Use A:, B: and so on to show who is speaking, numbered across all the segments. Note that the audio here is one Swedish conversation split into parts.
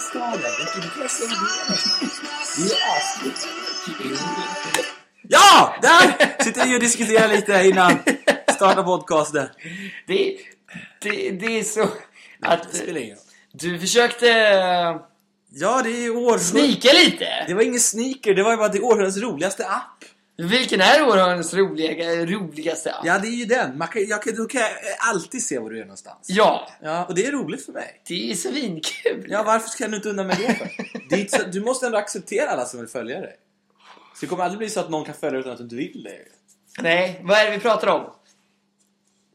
A: Vilket intresse är det? Ja, absolut.
B: Ja! Där! Sitter vi och diskuterar lite innan starta podcasten.
A: Det, det, det är så att
B: Det spelar ingen roll.
A: du försökte eh,
B: Ja, det är ju år...
A: snika
B: Det
A: lite.
B: var ingen sneaker, det var ju bara det århundradets roligaste app.
A: Vilken är århundradets roliga, roligaste app?
B: Ja, det är ju den. Man kan, jag kan, då kan jag alltid se var du är någonstans.
A: Ja,
B: Ja, och det är roligt för mig.
A: det är svinkul.
B: Ja, varför ska du inte undan mig det för? Det är inte så, du måste ändå acceptera alla som vill följa dig. Så det kommer aldrig bli så att någon kan följa dig utan att du vill det.
A: Nej, vad är det vi pratar om?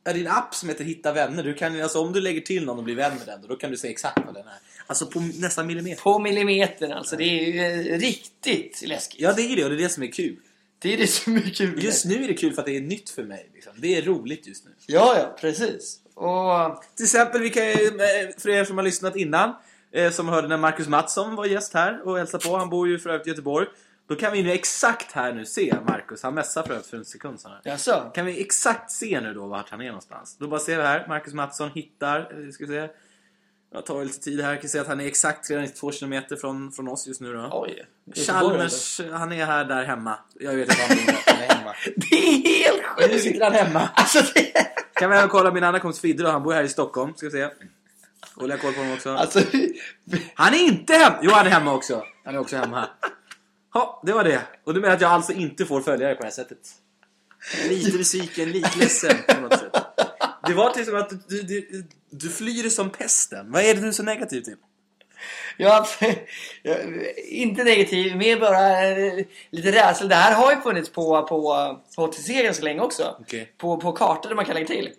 B: Ja, din app som heter Hitta vänner, du kan, ju- alltså, om du lägger till någon och blir vän med den, då kan du se exakt vad den är. Alltså på nästan millimeter.
A: På millimetern alltså. Det är ju eh, riktigt läskigt.
B: Ja, det är det och det är det som är kul.
A: Det är det som är kul.
B: Just nu är det kul för att det är nytt för mig. Liksom. Det är roligt just nu.
A: Ja, ja, precis. Och
B: Till exempel, vi kan, ju, eh, för er som har lyssnat innan, eh, som hörde när Marcus Mattsson var gäst här och hälsade på, han bor ju för övrigt i Göteborg. Då kan vi nu exakt här nu se Marcus, han messade för övrigt för en sekund sedan. här.
A: Jaså?
B: Kan vi exakt se nu då vart han är någonstans? Då bara ser vi här, Marcus Mattsson hittar, eh, ska vi se. Jag tar lite tid här, kan se att han är exakt 392 km från, från oss just nu då.
A: Oj.
B: Chalmers, han är här där hemma. Jag vet inte var han bor, han är hemma.
A: Det är helt
B: Nu
A: sjukt!
B: sitter han hemma.
A: Alltså, det är...
B: Kan vi även kolla min andra kompis Fidde då, han bor här i Stockholm. Ska vi se. Håller jag koll på honom också.
A: Alltså,
B: Han är inte hemma! Jo, han är hemma också. Han är också hemma. Ja, det var det. Och du menar att jag alltså inte får följare på det här sättet? Lite besviken, lite ledsen på något sätt. Det var till som att du, du, du flyr som pesten. Vad är det du är så negativ till?
A: jag, jag, inte negativ, mer bara eh, lite rädsla. Det här har ju funnits på, på, på HTC ganska länge också.
B: Okej.
A: På, på kartor där man kan lägga till.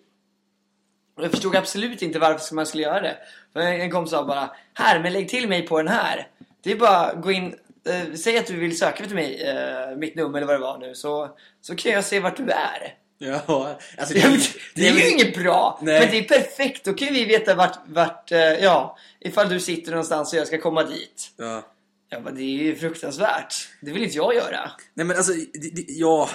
A: Och jag förstod absolut inte varför man skulle göra det. För En kompis sa bara Här, men lägg till mig på den här. Det är bara att gå in eh, Säg att du vill söka efter mig, eh, mitt nummer eller vad det var nu. Så, så kan jag se vart du är.
B: Ja, alltså
A: Det är, det är ju inget bra!
B: Nej.
A: Men det är perfekt, då kan ju vi veta vart, vart eh, ja, ifall du sitter någonstans och jag ska komma dit.
B: Ja.
A: Jag bara, det är ju fruktansvärt. Det vill inte jag göra.
B: Nej men alltså, det, det, ja.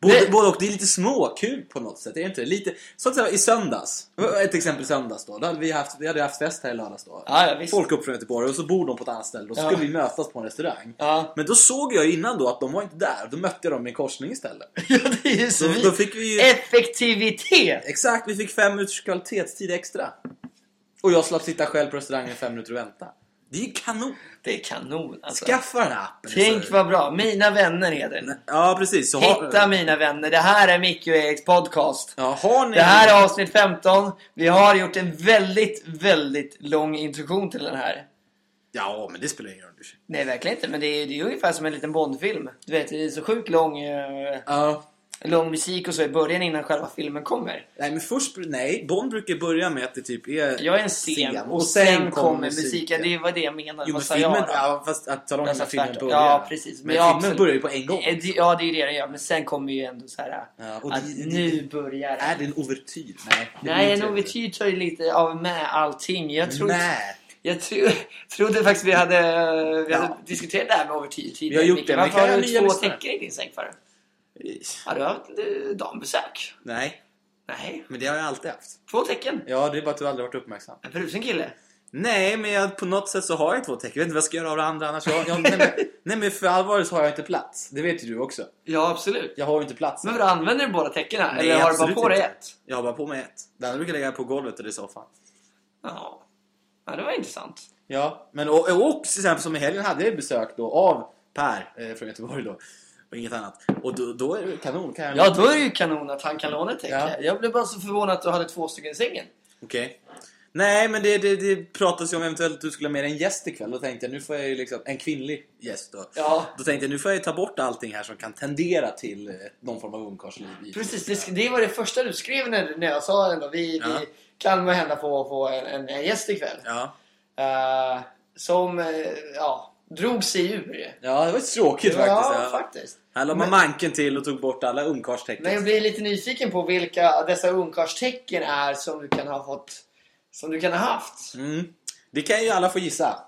B: Både,
A: Nej.
B: både och. Det är lite småkul på något sätt, är det inte? Lite, så att säga, i söndags. Ett exempel i söndags då. då hade vi, haft, vi hade haft fest här i lördags då.
A: Ja, ja, visst.
B: Folk upp från Göteborg och så bor de på ett annat ställe. Då
A: Ja.
B: skulle vi mötas på en restaurang.
A: Ja.
B: Men då såg jag ju innan då att de var inte där. Då mötte jag dem i en korsning istället.
A: ja, det är ju
B: Då,
A: så
B: då fick vi ju...
A: Effektivitet!
B: Exakt, vi fick fem minuters kvalitetstid extra. Och jag slapp sitta själv på restaurangen i fem minuter och vänta. Det är ju kanon!
A: Det är kanon alltså.
B: Skaffa den här appen!
A: Tänk
B: Så-
A: vad bra. Mina vänner heter den.
B: Ja, precis. Så har-
A: Hitta mina vänner. Det här är Micke och Eriks podcast.
B: Ja, har ni...
A: Det här är avsnitt 15. Vi har gjort en väldigt, väldigt lång introduktion till den här.
B: Ja, men det spelar ingen roll.
A: Nej, verkligen inte. Men det är, det är ungefär som en liten Bondfilm. Du vet, det är så sjukt lång, eh,
B: Ja.
A: lång musik och så i början innan själva filmen kommer.
B: Nej, men först... Nej, Bond brukar börja med att det typ är...
A: Jag är en scen, och, sen, kommer musiken. Det var det jag menade.
B: Jo, men
A: Vad sa
B: filmen...
A: jag då?
B: Ja, fast att tala om
A: Jag
B: när
A: sa
B: filmen
A: tvärtom.
B: börjar.
A: Ja, precis.
B: Men
A: Ja,
B: filmen
A: absolut.
B: börjar ju på en gång.
A: Eh, det- Ja, det är det den gör. Men sen kommer ju ändå så här
B: Ja, och
A: att
B: det- det-
A: nu börjar
B: Är det en ouvertyr? Nej. det
A: Nej,
B: blir
A: en
B: inte det.
A: ouvertyr tar ju lite av med allting. Jag, trodde,
B: Nej.
A: jag tro, trodde faktiskt vi hade, vi hade
B: Ja.
A: diskuterat det här med ouvertyr tidigare.
B: Vi har gjort
A: Micke.
B: det, men
A: Varför
B: kan
A: har
B: jag
A: du
B: nya
A: två
B: lyssnare?
A: täcker i din säng för? Har du haft eh, dambesök?
B: Nej,
A: Nej,
B: men det har jag alltid haft.
A: två tecken.
B: Ja, det är bara att du aldrig varit uppmärksam.
A: En frusen kille.
B: Nej, men jag, på något sätt så har jag två tecken. Jag vet inte vad jag ska göra av det andra annars. Jag, jag, nej, men, nej, men för allvar så har jag inte plats. Det vet ju du också.
A: Ja, absolut.
B: Jag har ju inte plats.
A: Men vadå, använder du båda tecknen?
B: Nej,
A: Eller har du bara
B: absolut
A: på dig
B: inte.
A: ett?
B: Jag har bara på mig ett. Det andra brukar jag lägga på golvet eller i soffan.
A: Ja. ja, det var intressant.
B: Ja, men och, och till exempel som i helgen hade jag besök då av Per eh, från Göteborg då. Och inget annat. Och då, då är det kanon. Kan jag...
A: Ja, då är det ju kanon att han kan låna ett täcke.
B: Ja.
A: Jag blev bara så förvånad att du hade två stycken i sängen.
B: Okej. Nej, men det, det, det pratas ju om eventuellt att du skulle ha med dig en gäst ikväll. Då tänkte jag nu får jag ju liksom, en kvinnlig gäst då.
A: Ja.
B: Då tänkte jag nu får jag ju ta bort allting här som kan tendera till eh, någon form av ungkarlsliv. i-
A: Precis, det, sk- det var det första du skrev när, när jag sa ändå. Vi,
B: Ja.
A: vi kan väl hända få, få en, en, en gäst ikväll.
B: Ja.
A: Eh, som, eh, ja, drog sig ur.
B: ja, det var ju tråkigt faktiskt.
A: ja,
B: Ja.
A: faktiskt.
B: Här la man manken till och tog bort alla ungkarlstecken.
A: Men jag blir lite nyfiken på vilka dessa ungkarlstecken är som du kan ha fått som du kan ha haft.
B: Mm. Det kan ju alla få gissa.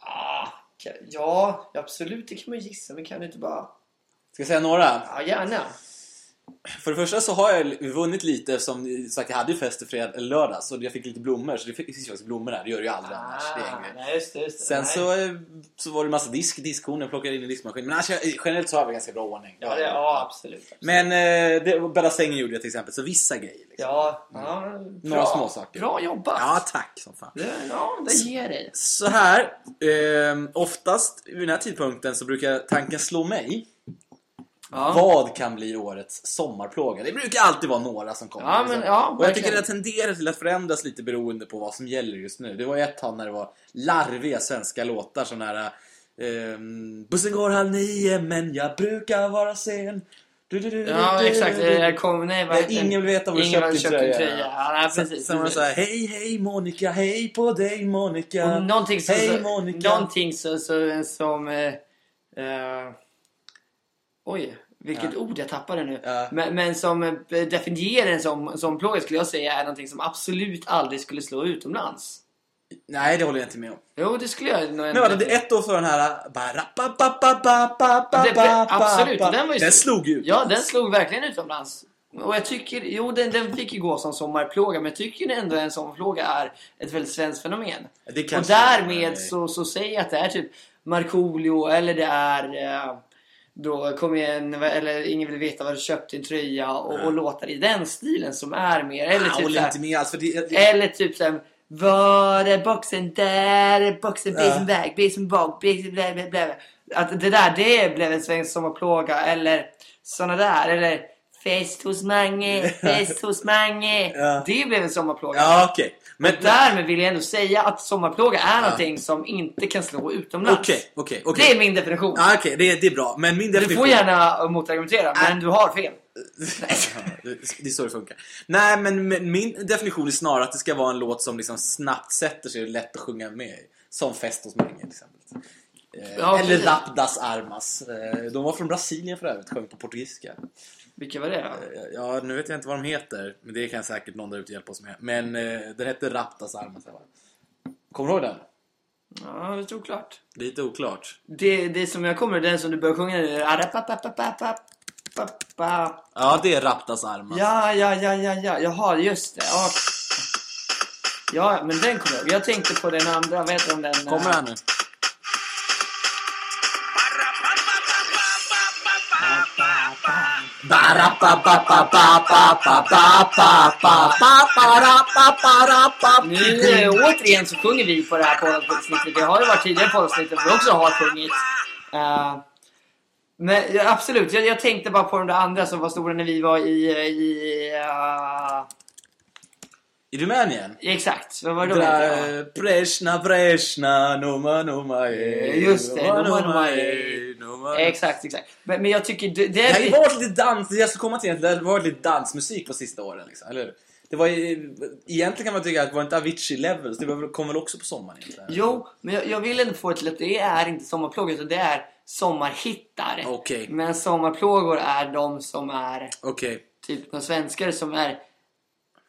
A: Ah, ka- ja, absolut, det kan man ju gissa. Men kan du inte bara...
B: Ska jag säga några?
A: Ja, gärna.
B: för det första så har jag vunnit lite som ni sagt, jag hade ju fest i fred, eller lördag så jag fick lite blommor. Så det fick- det finns ju faktiskt blommor där, det gör det ju aldrig annars. Det är en grej.
A: nej, just, det, just, det.
B: Sen
A: Ah. nej.
B: så, eh, så var det massa disk, diskhon jag plockade in i diskmaskinen. Men annars, jag- generellt så har vi ganska bra ordning.
A: Ja, det, ja absolut.
B: Men eh, det, bädda sängen gjorde jag till exempel, så vissa grejer. Liksom.
A: Ja, ja bra.
B: Mm. Några småsaker.
A: Bra jobbat!
B: Ja, tack som fan.
A: Det, ja, det ger dig.
B: Så här, eh, oftast vid den här tidpunkten så brukar tanken slå mig.
A: Ja.
B: Vad kan bli årets sommarplåga? Det brukar alltid vara några som kommer.
A: Ja, men, ja,
B: och jag
A: verkligen.
B: tycker det tenderar till att förändras lite beroende på vad som gäller just nu. Det var ett tag när det var larviga svenska låtar sån här... ehm, Bussen går halv nio men jag brukar vara sen. Du, du, du,
A: Ja,
B: du,
A: exakt.
B: du, du.
A: Jag kom, nej,
B: Nej,
A: verkligen.
B: Ingen vill veta var du
A: Ingen
B: köpte
A: hade
B: din
A: köpt en
B: tröja.
A: tröja. Ja, nej,
B: Sen,
A: precis.
B: sen var det
A: precis.
B: såhär, hej hej Monica, hej på dig Monica.
A: Och någonting som,
B: Hej,
A: så,
B: Monica.
A: någonting så, så, som... Eh, eh, oj, vilket
B: Ja.
A: ord jag tappade nu.
B: Ja.
A: Men, men som eh, definierar en som, som plåga skulle jag säga är någonting som absolut aldrig skulle slå utomlands.
B: Nej, det håller jag inte med om.
A: Jo, det skulle jag nog ändå-
B: Men vadå, det är ett år för den här...
A: Det- det-
B: Absolut,
A: absolut, och den var ju
B: Den
A: stor.
B: slog ju.
A: Ja, den slog verkligen utomlands. Och jag tycker, jo den, den fick ju gå som sommarplåga men jag tycker ändå en sommarplåga är ett väldigt svenskt fenomen.
B: Det
A: Och
B: kanske-
A: därmed
B: nej.
A: så, så säger jag att det är typ Markoolio eller det är eh, då kom igen, eller ingen vill veta vad du köpte din tröja och, och låtar i den stilen som är mer. Eller
B: Jag
A: typ,
B: håller
A: såhär,
B: inte med alls. För det, det,
A: eller typ såhär var är boxen? Där är boxen, bli
B: Ja.
A: som väg, bli som bak, bli som bla, bla, bla. Att det där, det blev en svensk sommarplåga eller såna där. Eller fest hos Mange, fest hos Mange.
B: Ja.
A: Det blev en sommarplåga.
B: ja, okej. Men
A: Och därmed vill jag ändå säga att sommarplåga är någonting som inte kan slå utomlands.
B: Okej, okej,
A: Det är
B: okej.
A: min definition.
B: Ja, Okej, det, det är bra. Men min
A: Du
B: definition...
A: får gärna motargumentera, men du har fel.
B: Ja, det det är så det funkar. Nej, men men min definition är snarare att det ska vara en låt som liksom snabbt sätter sig och är lätt att sjunga med i. Som Fest hos Mange till exempel. Eh,
A: Ja,
B: Eller
A: precis.
B: Rapdas Armas. Eh, De var från Brasilien för övrigt, sjöng på portugisiska.
A: Vilka var det? då?
B: Eh, Ja, nu vet jag inte vad de heter, men det kan säkert någon där ute hjälpa oss med. Men eh, den hette Raptas Armas. eller vad? Kommer du ihåg den?
A: Ja, det är oklart.
B: Lite oklart.
A: Det, det som jag kommer den som du börjar sjunga nu. Arapapapapapapapa.
B: Ja, det är Raptas Armas.
A: Ja, ja, ja, ja, ja. Jaha, just det. Ja, ja men den kommer jag ihåg. Jag tänkte på den andra. Vad heter den? den
B: Kommer
A: eh,
B: här nu.
A: Nu eh, återigen så sjunger vi på det här poddavsnittet. Det har ju varit tidigare poddavsnitt där vi också har sjungit. Eh, men ja, absolut, jag, jag tänkte bara på de där andra som var stora när vi var i... eh, i eh,
B: I Rumänien?
A: exakt, vad var det de hette?
B: Dra- Preshna, preshna, numa, numa, eh,
A: Just det,
B: numa,
A: numa, numa,
B: eh,
A: eh.
B: numa.
A: Ja, Exakt, exakt. Men, men jag tycker... Det, det
B: Det har
A: är
B: ju varit lite dans, jag ska komma till att det har varit lite dansmusik på sista åren liksom, eller hur? Det var ju, egentligen kan man tycka att var inte Avicii Levels, det var väl- kom väl också på sommaren egentligen?
A: Jo, men jag, jag vill ändå få det till att det är inte sommarplågor utan det är sommarhittar.
B: Okej.
A: Men sommarplågor är de som är
B: Okej.
A: typ de svenskar som är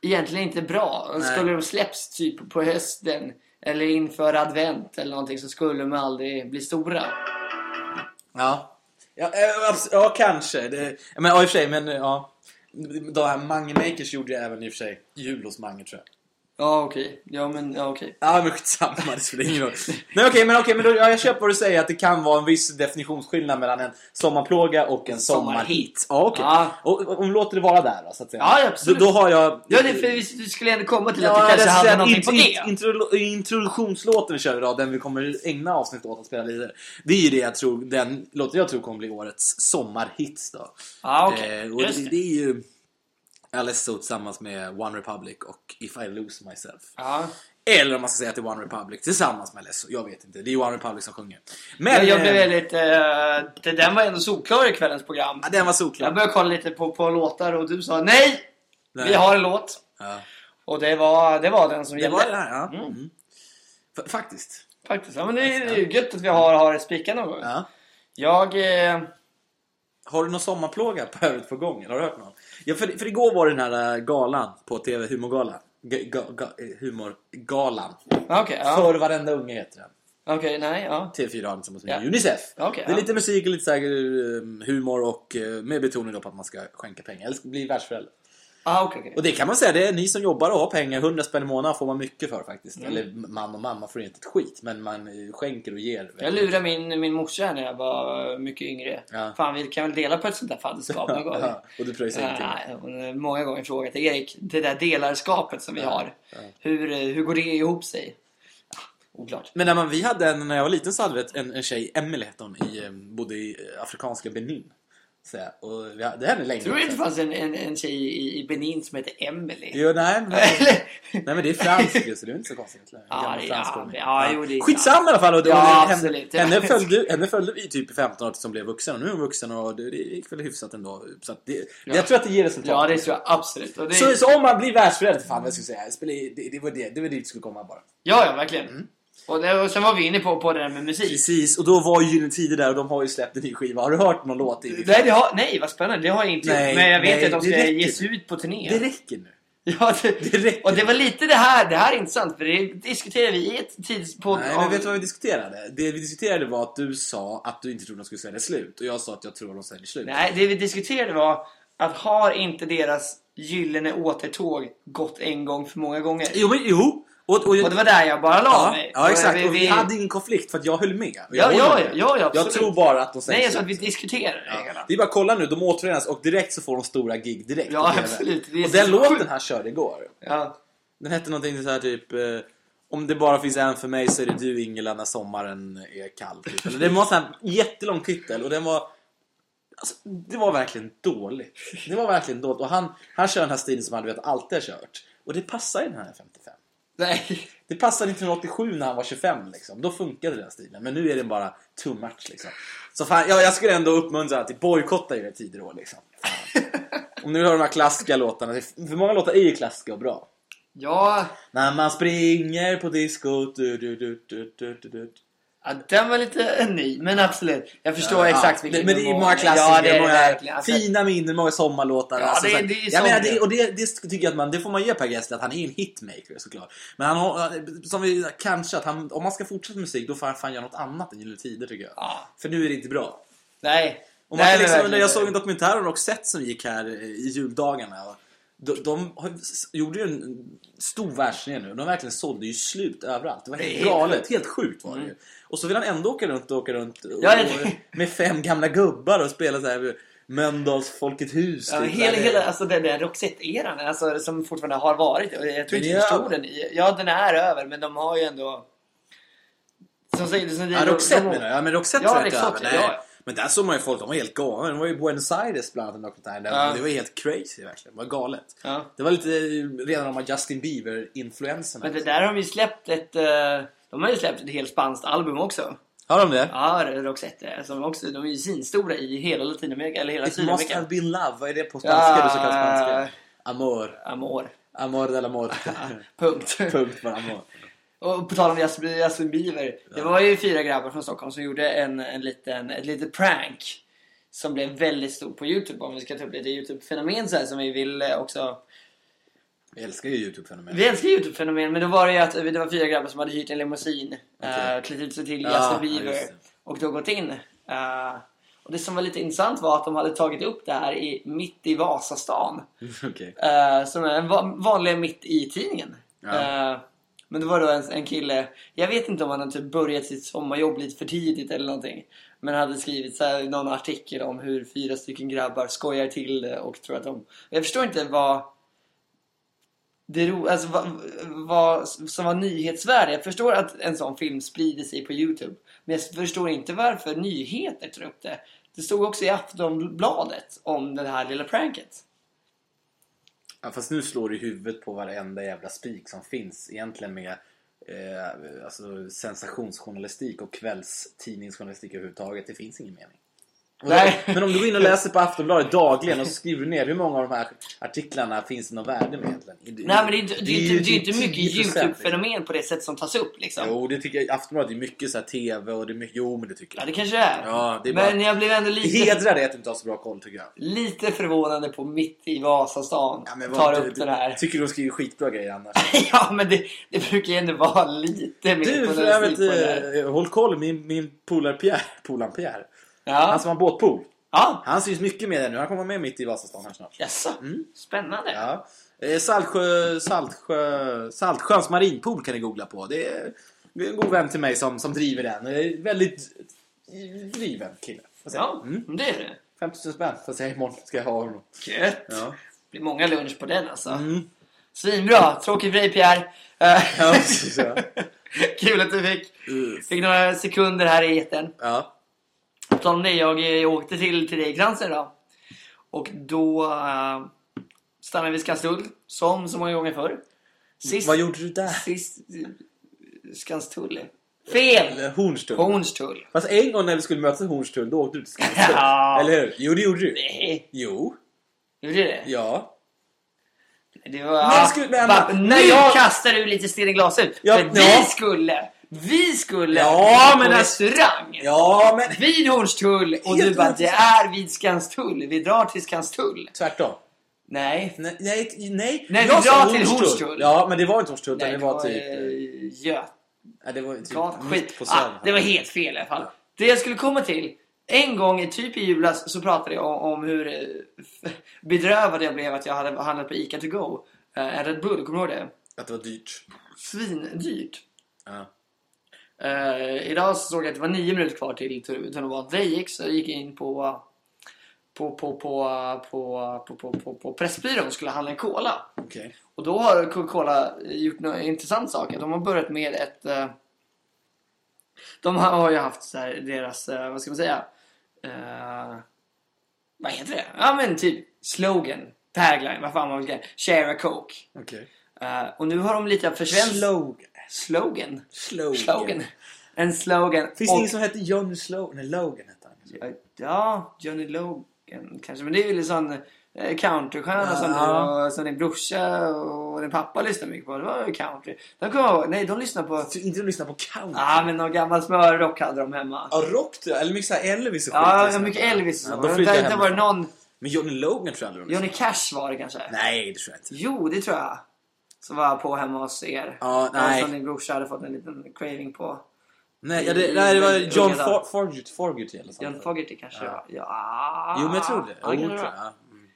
A: egentligen inte bra. Och
B: Nej.
A: Skulle de släpps typ på hösten eller inför advent eller någonting så skulle de aldrig bli stora.
B: Ja. Ja, eh, abs- ja kanske. Det, men, ja, i och för sig, men eh, ja. De här Mange Makers gjorde jag även i och för sig jul hos Mange tror jag.
A: Ja okej, ja men ja okej.
B: Ja men skitsamma, det spelar ingen roll. Nej okej, men okej, men då, ja, jag köper vad du säger att det kan vara en viss definitionsskillnad mellan en sommarplåga och en sommarhit. Ja okej.
A: Ja.
B: Och, och, och låter det vara där då, så att säga.
A: Ja, absolut.
B: Då, då har jag...
A: Ja det, för vi vi skulle ändå komma till att
B: Ja,
A: du kanske
B: jag
A: hade
B: säger
A: någonting
B: int-
A: på G.
B: int- intro- Introduktionslåten vi kör idag, den vi kommer ägna avsnittet åt att spela vidare. Det är ju det jag tror, den låten jag tror kommer bli årets sommarhits då.
A: Ja Ah, okej,
B: Eh, och
A: just
B: det,
A: det.
B: det är ju Alesso tillsammans med One Republic och If I Lose Myself.
A: Ja.
B: Eller om man ska säga att det är One Republic tillsammans med Alesso. Jag vet inte, det är ju One Republic som sjunger.
A: Men
B: Men
A: jag blev
B: eh,
A: väldigt... eh, det, den var ändå solklar i kvällens program.
B: ja, den var
A: Jag
B: solklar.
A: började kolla lite på, på låtar och du sa nej!
B: Nej.
A: Vi har en låt.
B: Ja.
A: Och det var, det var den som
B: Det
A: gällde.
B: var det här, ja. Mm. F- faktiskt.
A: Faktiskt. Ja, men det är det är ju gött att vi har, har spikat någon gång.
B: Ja.
A: Jag... Eh,
B: Har du någon sommarplåga på övrigt på gång? Eller har du hört någon? Ja, för, för igår var den här äh, galan på TV, humorgalan. G- ga, ga, eh, humorgalan.
A: ja, okej. ja.
B: För varenda unge heter den.
A: Okej, nej, ja.
B: TV4 har något som heter
A: Ja.
B: Unicef.
A: Ja, okej,
B: det är
A: ja.
B: lite musik och lite så här, eh, humor och eh, med betoning då på att man ska skänka pengar. Eller bli världsförälder.
A: Ah, okej, okej.
B: Och det kan man säga, det är ni som jobbar och har pengar. 100 spänn i månaden får man mycket för faktiskt.
A: Mm.
B: Eller man och mamma får inte ett skit. Men man eh, skänker och ger.
A: Jag lurade min, min morsa här när jag var eh, mycket yngre.
B: Ja.
A: Fan, vi kan väl dela på ett sånt där fadderskap någon gång? Eh,
B: Ja, och du pröjsar ingenting.
A: Nej, hon har många gånger frågat Erik, det där delarskapet som vi har. Hur, eh, hur går det ihop sig? Ja, oklart.
B: Men när man, vi hade en, när jag var liten så hade vi ett- en, en tjej, Emelie hette hon, i, eh, bodde i eh, afrikanska Benin. Så, här, och vi, hade- det hände länge
A: Tror du
B: också.
A: inte det fanns en, en, en tjej i, i Benin som hette Emily?
B: Jo, nej, men,
A: Eller?
B: nej men det är fransk ju, så det är inte så konstigt. Eller?
A: Ja,
B: Gammal
A: det-
B: fransk
A: ja,
B: ordning.
A: ja, jo, det är-
B: Skitsamma i alla fall! Och det,
A: Ja,
B: och det- henne,
A: absolut.
B: henne, följde, henne följde vi typ i 15 år som blev vuxen och nu är hon vuxen och det, det gick väl hyfsat ändå. Så att det, Jag tror att det ger resultat.
A: Ja, det tror jag absolut. Och det,
B: så, så om man blir världsförälder, fan jag skulle säga. Det, spelar i- det, det var det, det var dit det skulle komma bara.
A: Ja, ja, verkligen.
B: Mm.
A: Och, det, och sen var vi inne på, på det där med musik.
B: Precis, och då var ju Gyllene Tider där och de har ju släppt en ny skiva. Har du hört någon låt? i-
A: Nej, det har, nej, vad spännande. Det har jag inte
B: Nej,
A: gjort. Men jag vet
B: nej,
A: att de
B: det
A: ska
B: räcker.
A: ge sig ut på turné.
B: Det räcker nu.
A: ja, det,
B: det räcker.
A: Och det var lite det här. Det här är intressant. För det diskuterade vi i ett tids... På,
B: Nej, men vet du vad vi diskuterade? Det vi diskuterade var att du sa att du inte trodde de skulle sälja slut och jag sa att jag tror de säljer slut.
A: nej, det vi diskuterade var att har inte deras gyllene återtåg gått en gång för många gånger?
B: Jo, men jo! Och, och,
A: Och det var där jag bara la
B: ja,
A: mig.
B: ja, exakt.
A: Vi,
B: Och vi hade ingen konflikt för att jag höll med. Och
A: Ja,
B: jag
A: ja,
B: håller med.
A: ja, ja, absolut.
B: Jag tror bara att de säljer
A: Nej, jag sa att
B: slut.
A: vi diskuterade det.
B: Ja.
A: hela.
B: Det är bara att kolla nu, de återförenas och direkt så får de stora gig direkt.
A: Ja,
B: på TV.
A: absolut. Det är
B: Och den
A: så
B: låten
A: sjukt.
B: han körde igår,
A: Ja.
B: den hette någonting så här typ eh, om det bara finns en för mig så är det du Ingela när sommaren är kall. Typ. Eller Det var en sån här jättelång titel och den var Alltså, det var verkligen dåligt. Det var verkligen dåligt. Och han, han kör den här stilen som han du vet alltid har kört. Och det passar i den här 55.
A: Nej.
B: Det passade 1987 när han var 25 liksom. Då funkade den stilen. Men nu är den bara too much liksom. Så fan, ja, jag skulle ändå uppmuntra till bojkotta era tider då liksom. Fan. Om nu hör de här klassiska låtarna. det är- För många låtar är ju klassiska och bra.
A: Ja,
B: När man springer på disco du, du, du, du, du, du, du.
A: ja, den var lite ny, men absolut. Jag förstår
B: Ja,
A: exakt
B: det,
A: vilken
B: Men det är
A: nivå.
B: många klassiker,
A: Ja, det är det
B: många
A: verkligen. Alltså,
B: fina minnen, många sommarlåtar. alltså
A: Ja, det-
B: så här-
A: det är ju
B: jag menar,
A: sånt,
B: det,
A: ja.
B: och det, det tycker jag att man, det får man ge Per Gessle, att han är en hitmaker såklart. Men han har, som vi kanske, att han, om man ska fortsätta med musik då får han fan göra något annat än Gyllene Tider tycker jag.
A: Ja.
B: För nu är det inte bra.
A: Nej.
B: Och man kan
A: Nej, men
B: liksom,
A: verkligen.
B: när jag såg en dokumentär om Roxette som gick här eh, i juldagarna. Och de, de har, s- gjorde ju en stor världsturné nu. De verkligen sålde ju slut överallt. Det var
A: Det
B: helt
A: är
B: galet. Helt sjukt var det ju. Och så vill han ändå åka runt och åka runt och,
A: Mm. Ja,
B: och, med fem gamla gubbar och spela så här Mölndals Folket Hus.
A: Ja,
B: typ.
A: hela,
B: Där det-
A: hela alltså den där Roxette-eran alltså, som fortfarande har varit. och Jag tror
B: Den
A: inte
B: är
A: vi förstod
B: över.
A: den. i- Ja, den är över, men de har ju ändå... Som säger som
B: Ja,
A: säger-
B: Roxette
A: de-
B: menar jag. Ja, men Roxette
A: Ja,
B: tror jag inte
A: Roxette,
B: över.
A: ja.
B: Nej. Men där såg man ju folk, de var helt galna. De var ju i Buenos Aires bland annat en dokumentär. där.
A: Ja.
B: Det var helt crazy verkligen. Det var galet.
A: Ja.
B: Det var lite eh, redan de här Justin Bieber-influenserna.
A: Men det där har vi släppt ett... eh, De har ju släppt ett helt spanskt album också.
B: Har de det?
A: Ja, Roxette. Som också, de är ju svinstora i hela Latinamerika, eller hela
B: It must
A: Sydamerika.
B: have been love, vad är det på spanska?
A: Ja.
B: Det så kallas spanska? Amor.
A: Amor.
B: Amor del amor.
A: Punkt.
B: Punkt för amor.
A: Och på tal om Justin Justin Bieber. Det var ju fyra grabbar från Stockholm som gjorde en, en liten, ett litet prank. Som blev väldigt stor på Youtube. Om vi ska ta upp lite Youtube-fenomen typ så här som vi vill eh, också...
B: Jag älskar ju Youtube-fenomen.
A: Vi älskar Youtube-fenomen men då var det ju att eh, det var fyra grabbar som hade hyrt en limousin. Okay.
B: Okej.
A: klätt ut sig till
B: Ja,
A: Justin
B: ja,
A: Bieber.
B: just det.
A: och då gått in. Eh, och det som var lite intressant var att de hade tagit upp det här i, mitt i Vasastan.
B: Okej.
A: Eh, som är en va- vanlig mitt i tidningen.
B: Ja.
A: Eh, men det var då en, en kille, jag vet inte om han hade typ börjat sitt sommarjobb lite för tidigt eller någonting. Men hade skrivit så här, någon artikel om hur fyra stycken grabbar skojar till det och tror att de... Jag förstår inte vad... Det ro, alltså, vad, vad som var nyhetsvärde. Jag förstår att en sån film sprider sig på Youtube. Men jag förstår inte varför nyheter tar upp det. Det stod också i Aftonbladet om det här lilla pranket.
B: Ja, fast nu slår du i huvudet på varenda jävla spik som finns egentligen med eh, alltså, sensationsjournalistik och kvällstidningsjournalistik överhuvudtaget. Det finns ingen mening.
A: Nej.
B: Men om du går in och läser på Aftonbladet dagligen och så skriver du ner hur många av de här artiklarna finns det något värde med egentligen?
A: Nej men det är, inte- det är,
B: ju
A: inte, det är inte
B: typ
A: mycket
B: 10%.
A: YouTube-fenomen på det sätt som tas upp liksom.
B: Jo, det tycker jag. Aftonbladet är mycket så här TV och det är mycket... Jo, men det tycker
A: Ja
B: jag.
A: det kanske det är.
B: Ja, det är
A: men
B: bara-
A: jag blev ändå
B: Det
A: lite,
B: hedrar dig att du inte har så bra koll tycker jag.
A: lite förvånande på mitt i Vasastan.
B: Ja, men vad-
A: tar
B: du-
A: upp den här.
B: Tycker du de skriver skitbra grejer annars?
A: ja men det, det brukar ju ändå vara lite
B: Du,
A: mer
B: för
A: journalistik
B: övrigt,
A: på det här.
B: eh, håll koll. Min, min polare Pierre, polaren Pierre, han
A: Ja.
B: som har båtpool.
A: ja.
B: Han syns mycket med det nu. Han kommer med mitt i Vasastan här snart.
A: Jaså? Spännande.
B: Mm. Ja. Eh, Saltsjö, Saltsjö, Saltsjöns marinpool kan ni googla på. Det är det är en god vän till mig som, som driver den. Eh, Väldigt driven kille. Vad säger
A: Ja,
B: jag? Mm.
A: det är det.
B: 50 000 spänn. Fast jag imorgon ska jag ha honom.
A: Gött.
B: Ja.
A: Det blir många lunch på den alltså.
B: Mm.
A: Svinbra! Tråkig för dig Pierre. Eh,
B: Ja, precis, ja.
A: Kul att du fick, fick några sekunder här i etern.
B: ja.
A: På tal om det, jag eh, åkte till, till dig Kransen idag. Och då eh, stannade vi i Skanstull, som så många gånger förr. Sist,
B: Vad gjorde du där?
A: sist eh, Skanstull? Fel!
B: Eller Hornstull.
A: Hornstull.
B: Fast en gång när vi skulle mötas i Hornstull, då åkte du till Skanstull.
A: Ja.
B: Eller hur? Jo, det gjorde du.
A: Nej,
B: Jo.
A: gjorde jag det?
B: Ja.
A: Det var...
B: Men skulle- men-
A: Va,
B: men-
A: nu
B: jag-
A: kastar du lite sten i glashus.
B: Ja,
A: för
B: ja.
A: vi skulle... Vi skulle
B: Ja,
A: på
B: men alltså-
A: restaurang.
B: Ja, men
A: Vid Hornstull. Och
B: Helt
A: du bara,
B: rätt.
A: det är vid Skanstull. Vi drar till Skanstull.
B: tvärtom.
A: Nej.
B: Nej, nej, nej.
A: Nej,
B: jag
A: vi
B: sa
A: drar till Hornstull.
B: Ja, men det var inte Hornstull, utan
A: Nej,
B: det var typ...
A: eh, Göt.
B: Ja, det var ju typ
A: Gat,
B: mitt
A: skit.
B: på
A: ah,
B: Söder.
A: det var helt fel i alla fall.
B: Ja.
A: Det jag skulle komma till. En gång, i typ i julas, så pratade jag om, om hur eh, f- bedrövad jag blev att jag hade handlat på ICA to go. Eh, En Red Bull, kommer du ihåg det?
B: Att det var dyrt.
A: Svindyrt.
B: Ja.
A: Eh, idag så såg jag att det var nio minuter kvar till tunnelbanan. Det gick så jag gick in på på, på, på, på, på, på, på, på Pressbyrån och skulle handla en cola.
B: Okej.
A: Och då har Coca-Cola gjort en intressant sak. De har börjat med ett... eh, De har har ju haft så här deras, eh, vad ska man säga? Eh, vad heter det? Ja men typ slogan, tagline, vad fan man vill kalla det. Share a Coke.
B: Okej.
A: Eh, och nu har de lite försvenskat...
B: Slogan.
A: slogan.
B: Slogan.
A: Slogan. En slogan.
B: Finns
A: och-
B: det ingen som hette John Slogan? Nej, Logan hette han.
A: Ja, Johnny Logan kanske. Men det är väl en sån eh, countrystjärna som,
B: Ja.
A: du och- som din brorsa och din pappa lyssnar mycket på. Det var ju country. De kommer jag ihåg, nej de lyssnar på...
B: Så inte de lyssnar på country?
A: Ja ah, men någon gammal smörrock hade de hemma.
B: Ja, rock du. Eller mycket så här Elvis och
A: Ja,
B: lyssnar
A: mycket
B: jag på.
A: Elvis och
B: Ja,
A: så.
B: då
A: det
B: flyttar
A: har
B: jag
A: inte
B: hem.
A: varit någon...
B: Men Johnny Logan tror jag aldrig de
A: Johnny Cash var det kanske?
B: Nej, det tror jag inte.
A: Jo, det tror jag. Som var på hemma hos er.
B: Ja,
A: Den
B: nej.
A: Som din brorsa hade fått en liten craving på.
B: Nej, ja, det, nej, det var
A: Unga
B: John
A: dagar.
B: For- Forget, Forget eller sånt.
A: John Fogerty kanske? Ja.
B: Jo, men jag tror det.
A: Ja,
B: Jo,
A: kan
B: tror
A: vara.
B: jag. Ja. Mm.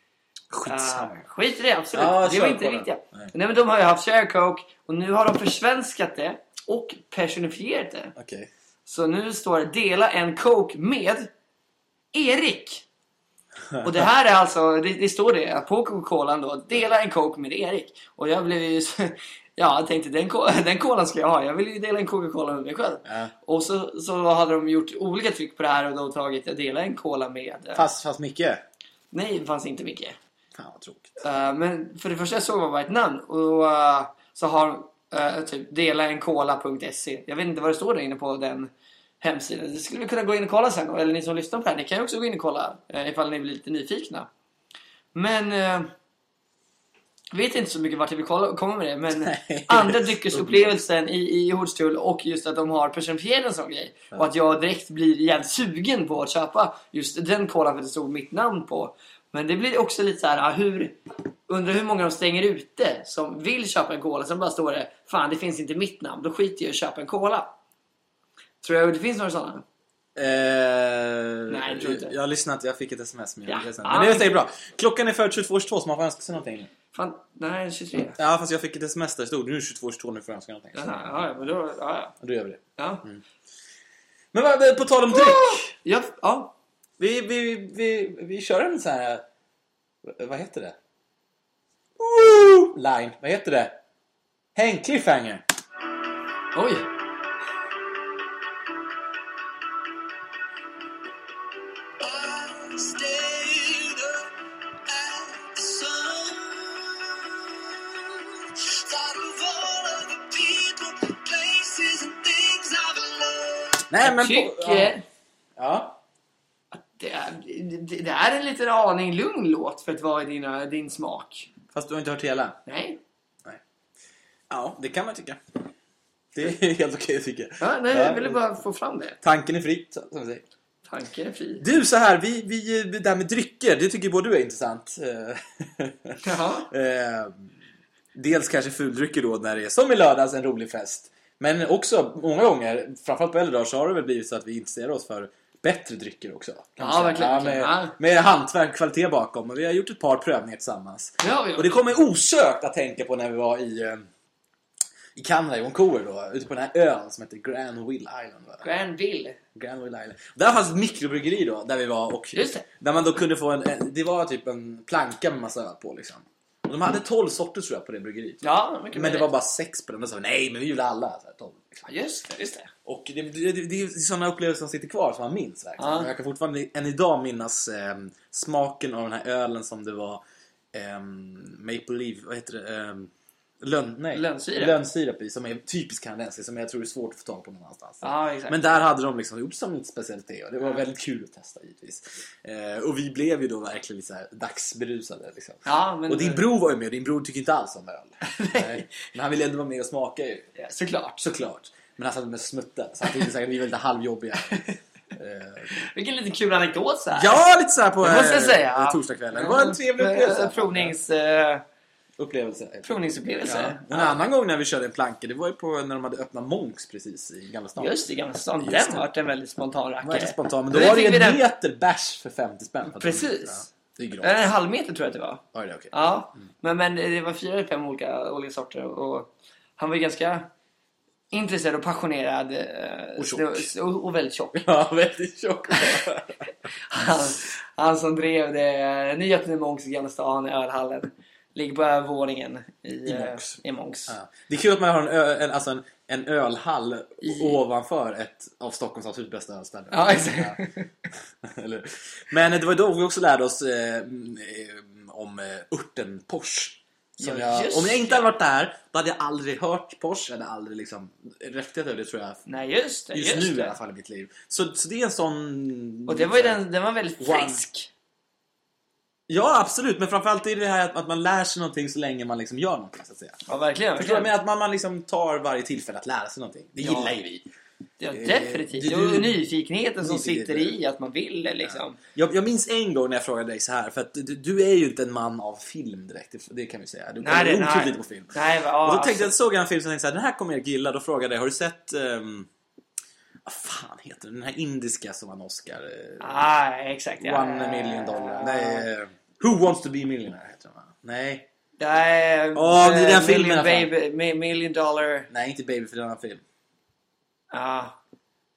B: Skitsamma.
A: Ah, skit i det, absolut.
B: Ja,
A: det
B: kör
A: var
B: på
A: inte
B: den.
A: det viktiga.
B: Nej.
A: Nej. men de har ju haft share coke och nu har de försvenskat det och personifierat det.
B: Okej.
A: Så nu står det dela en coke med Erik. Och det här är alltså, det, det står det att på Coca-Colan då, dela en coke med Erik. Och jag blev ju, så- ja jag tänkte den, ko- den colan ska jag ha, jag vill ju dela en Coca-Cola med mig själv.
B: Ja.
A: Och så, så hade de gjort olika tryck på det här och då tagit att dela en cola med... eh,
B: Fast, fast Micke.
A: Nej, det fanns inte mycket.
B: Fan vad tråkigt.
A: Eh, men för det första såg man bara ett namn och eh, så har eh, typ delaencola.se. Jag vet inte vad det står där inne på den hemsidan. Det skulle vi kunna gå in och kolla sen. Eller ni som lyssnar på det här, ni kan ju också gå in och kolla uh, ifall ni blir lite nyfikna. Men eh, vet inte så mycket vart jag vill kolla, komma med det. Men
B: Nej.
A: andra dryckesupplevelsen i, i Hornstull och just att de har personifierat en sån grej. Och att jag direkt blir jävligt sugen på att köpa just den kolan för att det stod mitt namn på. Men det blir också lite så här, ah, hur, undrar hur många de stänger ute som vill köpa en cola. Sen bara står det, fan det finns inte mitt namn, då skiter jag i att köpa en cola. Tror jag det finns några sådana?
B: Eh,
A: Nej, jag tror inte.
B: Jag har lyssnat, jag fick ett sms med
A: Ja.
B: det sen. Men det
A: Ah.
B: är säkert bra. Klockan är för 22.22 så man får önska sig någonting.
A: Fan, nej 23.
B: Ja, fast jag fick ett sms där det stod nu är det 22.22 nu får jag önska någonting.
A: Ja, ja, men då, ja,
B: Då gör vi det.
A: ja.
B: Men vad- på tal om dryck.
A: Ja, ja.
B: Vi, vi, vi, vi kör en sån här... Vad heter det? Line. Vad heter det? Häng cliffhanger.
A: Oj!
B: Nej,
A: Jag
B: men... På,
A: tycker
B: ja.
A: Det är, det, det är en liten aning lugn låt för att vara i dina, din smak.
B: Fast du har inte hört hela?
A: Nej.
B: Ja, det kan man tycka. Det är helt okej tycker jag.
A: Ja, nej jag ville bara få fram det.
B: Tanken är fri, som man säger.
A: Tanken är fri.
B: Du, så här, vi, vi, det här med drycker, det tycker både du är intressant. Eh,
A: Jaha.
B: Eh, dels kanske fuldrycker då när det är som i lördags en rolig fest. Men också många gånger, framförallt på äldre dagar, så har det väl blivit så att vi intresserar oss för bättre drycker också. kan man
A: Ja,
B: säga.
A: verkligen,
B: med,
A: verkligen. Ja.
B: med hantverk, kvalitet bakom. Och vi har gjort ett par prövningar tillsammans.
A: Det har vi
B: Och det
A: gjort.
B: kommer osökt att tänka på när vi var i, eh, i Kanada, i Vancouver då. Ute på den här ön som heter Granville Island. Va?
A: Granville.
B: Granville Island. Där fanns ett mikrobryggeri då, där vi var och...
A: Just det.
B: Där man då kunde få en, en... Det var typ en planka med massa öl på liksom. Och de hade 12 sorter tror jag på det bryggeriet.
A: Ja, mycket
B: Men det
A: möjligt.
B: var bara sex på den och så sa vi, nej men vi vill alla. Så här, 12.
A: Ja, just det, just det.
B: Och det, det, det, det är sådana upplevelser som sitter kvar som man minns verkligen.
A: Ja.
B: Och Jag kan fortfarande än idag minnas ehm, smaken av den här ölen som det var ehm, Maple Leaf, vad heter det? Ehm, lön, nej.
A: Lönnsirap.
B: Lönnsirap i som är typiskt kanadensisk som jag tror är svårt att få tag på någon annanstans.
A: Ja, exakt.
B: Men där hade de liksom gjort som ett speciellt te och det var väldigt kul att testa givetvis. Eh, och vi blev ju då verkligen lite så här dagsberusade liksom.
A: Ja, men...
B: Och din bror var ju med och din bror tycker inte alls om öl. Nej. Men han ville ändå vara med och smaka ju.
A: Ja, Såklart.
B: Såklart. Men han satt med smutten så han tyckte säkert vi var lite halvjobbiga. Eh,
A: Vilken liten kul anekdot så här.
B: ja, lite såhär på
A: Det måste jag
B: eh,
A: säga.
B: torsdagskvällen. Det var en trevlig upplevelse.
A: Provnings, eh,
B: upplevelse. Ja.
A: provningsupplevelse.
B: En annan gång när vi körde en planka, det var ju på när de hade öppnat Monks precis i Gamla stan.
A: Just det, Gamla stan.
B: Just
A: Den
B: det.
A: vart en väldigt spontan
B: Det var
A: rackare.
B: inte spontant, men då
A: Och den
B: var det
A: fick
B: en
A: vi den-
B: meter bärs för 50 spänn.
A: Precis.
B: Ja, det är gratis.
A: Eh, En halv meter tror jag att det var.
B: Ja, det är okej.
A: Ja, men, men det var fyra eller fem olika, olika sorter och han var ju ganska intresserad och passionerad. eh,
B: Och tjock.
A: så- Och, och väldigt tjock.
B: Ja, väldigt tjock.
A: Han, han som drev det eh, nya till Monks i Gamla stan, ölhallen. Ligger på övervåningen i,
B: I
A: eh,
B: Monks.
A: I Monks.
B: Ja. Det är kul att man har en, ö, en, alltså en, en ölhall ovanför ett av Stockholms absolut bästa ölställen.
A: Ja, exakt.
B: Eller hur? Men det var då vi också lärde oss eh, mm, eh, om eh, örten Porsche. Som
A: Ja,
B: jag,
A: just
B: om jag inte hade varit där, då hade jag aldrig hört Porsche. Jag hade aldrig liksom reflekterat över det tror jag.
A: Nej, just det.
B: Just,
A: Just,
B: nu i
A: det.
B: alla fall i mitt liv. Så, så det är en sån...
A: Och det var ju den, den var väldigt
B: Wow.
A: frisk.
B: Ja, absolut. Men framförallt är det det här att, att man lär sig någonting så länge man liksom gör någonting. Så att säga.
A: Ja, verkligen.
B: Förstår du?
A: verkligen.
B: Men att man, man liksom tar varje tillfälle att lära sig någonting. Det
A: Ja.
B: gillar ju vi.
A: Ja,
B: Eh,
A: definitivt.
B: du-
A: och nyfikenheten som
B: Nyfikenheten.
A: sitter i att man vill liksom.
B: Jag, jag minns en gång när jag frågade dig så här, för att du, du är ju inte en man av film direkt, det- det kan vi säga. Du
A: Nej,
B: kollar
A: det-
B: otroligt
A: nej.
B: lite på film.
A: Nej, va, ja,
B: och då tänkte jag,
A: absolut.
B: såg jag en film som tänkte så här, den här kommer jag gilla. Då frågade jag, har du sett... ehm, vad fan heter den? Den här indiska som vann Oscar? eh,
A: Ah, exakt. Ja,
B: One
A: ja,
B: million dollar.
A: ja.
B: Nej, eh, Who wants to be a millionaire heter den va? Nej.
A: Nej.
B: Åh, det är
A: eh,
B: den filmen alltså.
A: million,
B: i alla fall.
A: baby, mi- million dollar.
B: Nej, inte Baby för den annan film.
A: Ja.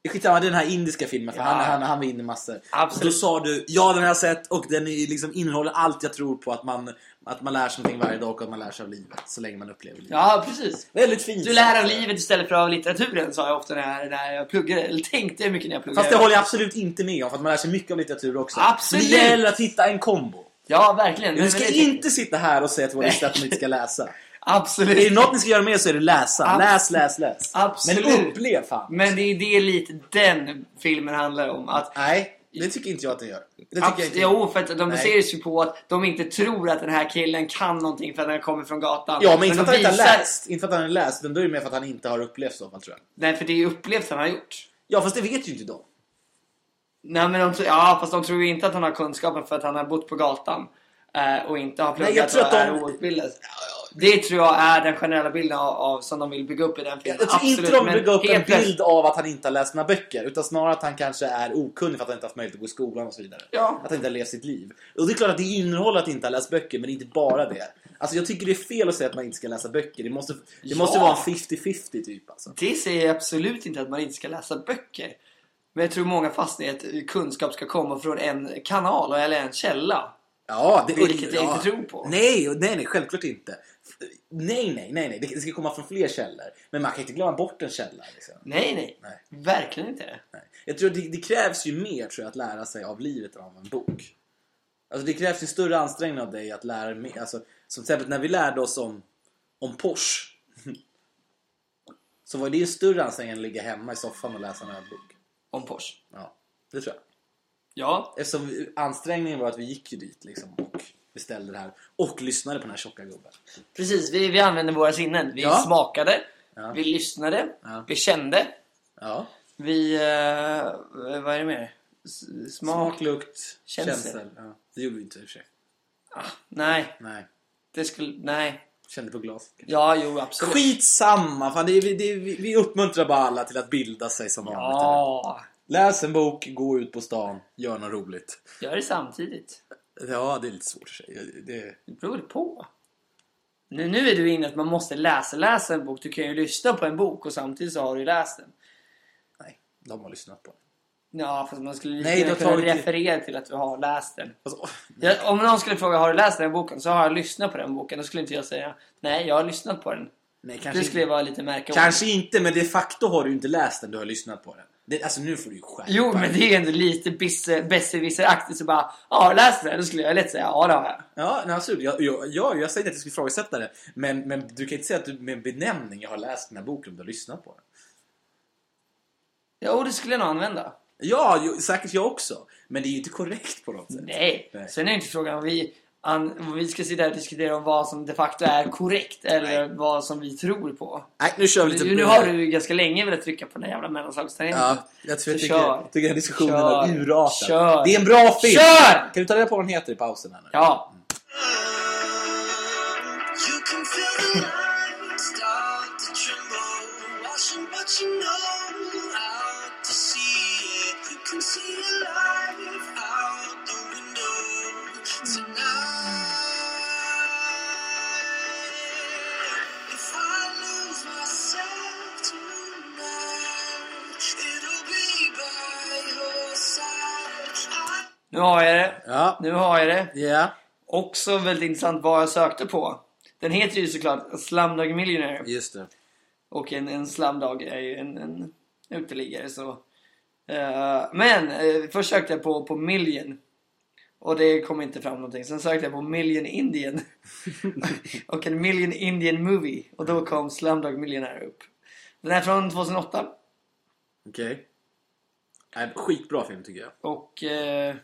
B: Skitsamma, det är den här indiska filmen för
A: Ja.
B: han, han, han var inne i massor.
A: Absolut.
B: Och Då sa du, ja den har jag sett och den är liksom innehåller allt jag tror på att man, att man lär sig någonting varje dag och att man lär sig av livet så länge man upplever livet.
A: ja, precis.
B: Väldigt fint.
A: Du lär av livet istället för av litteraturen sa jag ofta när, när jag pluggade. Eller tänkte mycket när jag pluggade.
B: Fast det håller jag absolut inte med om för att man lär sig mycket av litteratur också.
A: Absolut.
B: Det gäller att hitta en kombo.
A: Ja, verkligen.
B: Vi
A: Men-
B: ska
A: men det-
B: inte sitta här och säga till våra lyssnare att de inte ska läsa. Är det
A: Absolut.
B: något ni ska göra mer så är det läsa.
A: Abs-
B: Läs, läs, läs.
A: Absolut.
B: Men upplev fan.
A: Men det är det är lite den filmen handlar om. Att
B: Nej, det tycker inte jag att det gör. Det tycker jag
A: Abs-
B: inte.
A: jo, för att de
B: Nej.
A: baserar sig på att de inte tror att den här killen kan någonting för att han kommer från gatan.
B: Ja, men inte för
A: de
B: att han inte har
A: visar-
B: läst. Inte för att han inte har läst, utan då är det mer för att han inte har upplevt så fall tror jag.
A: Nej, för det är upplevelsen han har gjort.
B: Ja, fast det vet ju inte de.
A: Nej, men de, tror- ja, fast de tror ju inte att han har kunskapen för att han har bott på gatan eh, och inte har pluggat
B: Nej, jag tror
A: och
B: att de-
A: är outbildad. Det tror jag är den generella bilden av, av som de vill bygga upp i den filmen.
B: Jag tror inte
A: Absolut,
B: de
A: men
B: bygger upp en
A: helt plötsligt-
B: bild av att han inte har läst sina böcker. Utan snarare att han kanske är okunnig för att han inte haft möjlighet att gå i skolan och så vidare.
A: Ja.
B: Att han inte har levt sitt liv. Och det är klart att det innehåller att inte ha läst böcker, men det är inte bara det. Alltså jag tycker det är fel att säga att man inte ska läsa böcker. Det måste, det
A: Ja.
B: måste vara en 50-50 typ alltså.
A: Det säger jag absolut inte att man inte ska läsa böcker. Men jag tror många fastnar i att kunskap ska komma från en kanal eller en källa.
B: Ja, det,
A: Vilket jag
B: ja.
A: inte tror på.
B: Nej, och nej, nej, självklart inte. F- Nej, nej, nej, nej. Det det ska komma från fler källor. Men man kan inte glömma bort en källa. Liksom.
A: Nej, nej.
B: Nej.
A: Verkligen inte.
B: Nej. Jag tror det, det krävs ju mer tror jag, att lära sig av livet än av en bok. Alltså, det krävs ju större ansträngning av dig att lära dig mer. Alltså, som till exempel när vi lärde oss om, om Porsche. så var det ju en större ansträngning än att ligga hemma i soffan och läsa en bok.
A: Om Porsche.
B: Ja, det tror jag.
A: Ja.
B: Eftersom ansträngningen var att vi gick ju dit liksom och beställde det här och lyssnade på den här tjocka gubben.
A: Precis, vi, vi använde våra sinnen. Vi
B: Ja.
A: smakade,
B: Ja.
A: vi lyssnade,
B: Ja.
A: vi kände,
B: Ja.
A: vi... eh, vad är det mer? S- Smak?
B: Smak, lukt,
A: Känsel.
B: känsel. Ja. Det gjorde vi inte i och för sig.
A: Nej,
B: Nej.
A: det skulle... Nej.
B: Kände på glas.
A: Ja, jo absolut.
B: Skitsamma! Fan, det är, det är, vi vi uppmuntrar bara alla till att bilda sig som vanligt. eller?
A: Ja,
B: Läs en bok, gå ut på stan, gör något roligt.
A: gör det samtidigt.
B: Ja, det är lite svårt i och för sig. Det,
A: Det beror på. Nu, nu är du inne att man måste läsa, läsa en bok. Du kan ju lyssna på en bok och samtidigt så har du ju läst den.
B: nej, de har lyssnat på det.
A: Ja, fast man skulle
B: Nej,
A: lika gärna
B: då
A: kunna
B: tar vi-
A: referera till att du har läst den.
B: Alltså, åh,
A: Jag, om någon skulle fråga har du läst den här boken så har jag lyssnat på den boken. Då skulle inte jag säga nej, jag har lyssnat på den.
B: nej,
A: Det
B: kanske,
A: skulle vara lite märkligt.
B: kanske inte, men de facto har du inte läst den, du har lyssnat på den. Det, alltså nu får du ju skärpa
A: Jo, men det är ändå lite bisse- besserwisseraktigt så bara ja, har du läst den? Då skulle jag lätt säga ja, det har jag.
B: Ja, nej, absolut. Jag, jag, jag, jag säger inte att jag skulle ifrågasätta det. Men, men du kan inte säga att du med en benämning jag har läst den här boken om du har lyssnat på den.
A: Jo, det skulle jag nog använda.
B: Ja, jo, säkert jag också. Men det är ju inte korrekt på något sätt.
A: Nej,
B: Nej.
A: sen är det inte frågan om vi, an, om vi ska sitta här och diskutera om vad som de facto är korrekt eller vad som vi tror på.
B: Nej, nu kör vi lite...
A: Nu, nu har du ju ganska länge velat trycka på den här jävla mellanslagstangenten.
B: Ja, jag tror jag
A: Så
B: tycker,
A: kör.
B: tycker att diskussionen
A: Kör.
B: har urartat.
A: Kör.
B: Det är en bra film!
A: Kör!
B: Kan du ta reda på vad den heter i pausen här nu?
A: Ja.
C: You can feel the light start to tremble, watching what you know out to see it. You can see your life out the window tonight. If I lose myself tonight, it'll be by your side. I
A: Nu har jag det.
B: Ja.
A: Nu har jag det.
B: Ja,
A: Också väldigt intressant vad jag sökte på. Den heter ju såklart Slumdog Millionaire.
B: just det.
A: Och en, en slumdog är ju en, en uteliggare så. Eh, men eh, först sökte jag på, på Million. Och det kom inte fram någonting. Sen sökte jag på Million Indian. och en Million Indian Movie. Och då kom Slumdog Millionaire upp. Den är från 2008.
B: Okej. Nej, Skitbra film tycker jag.
A: Och... eh,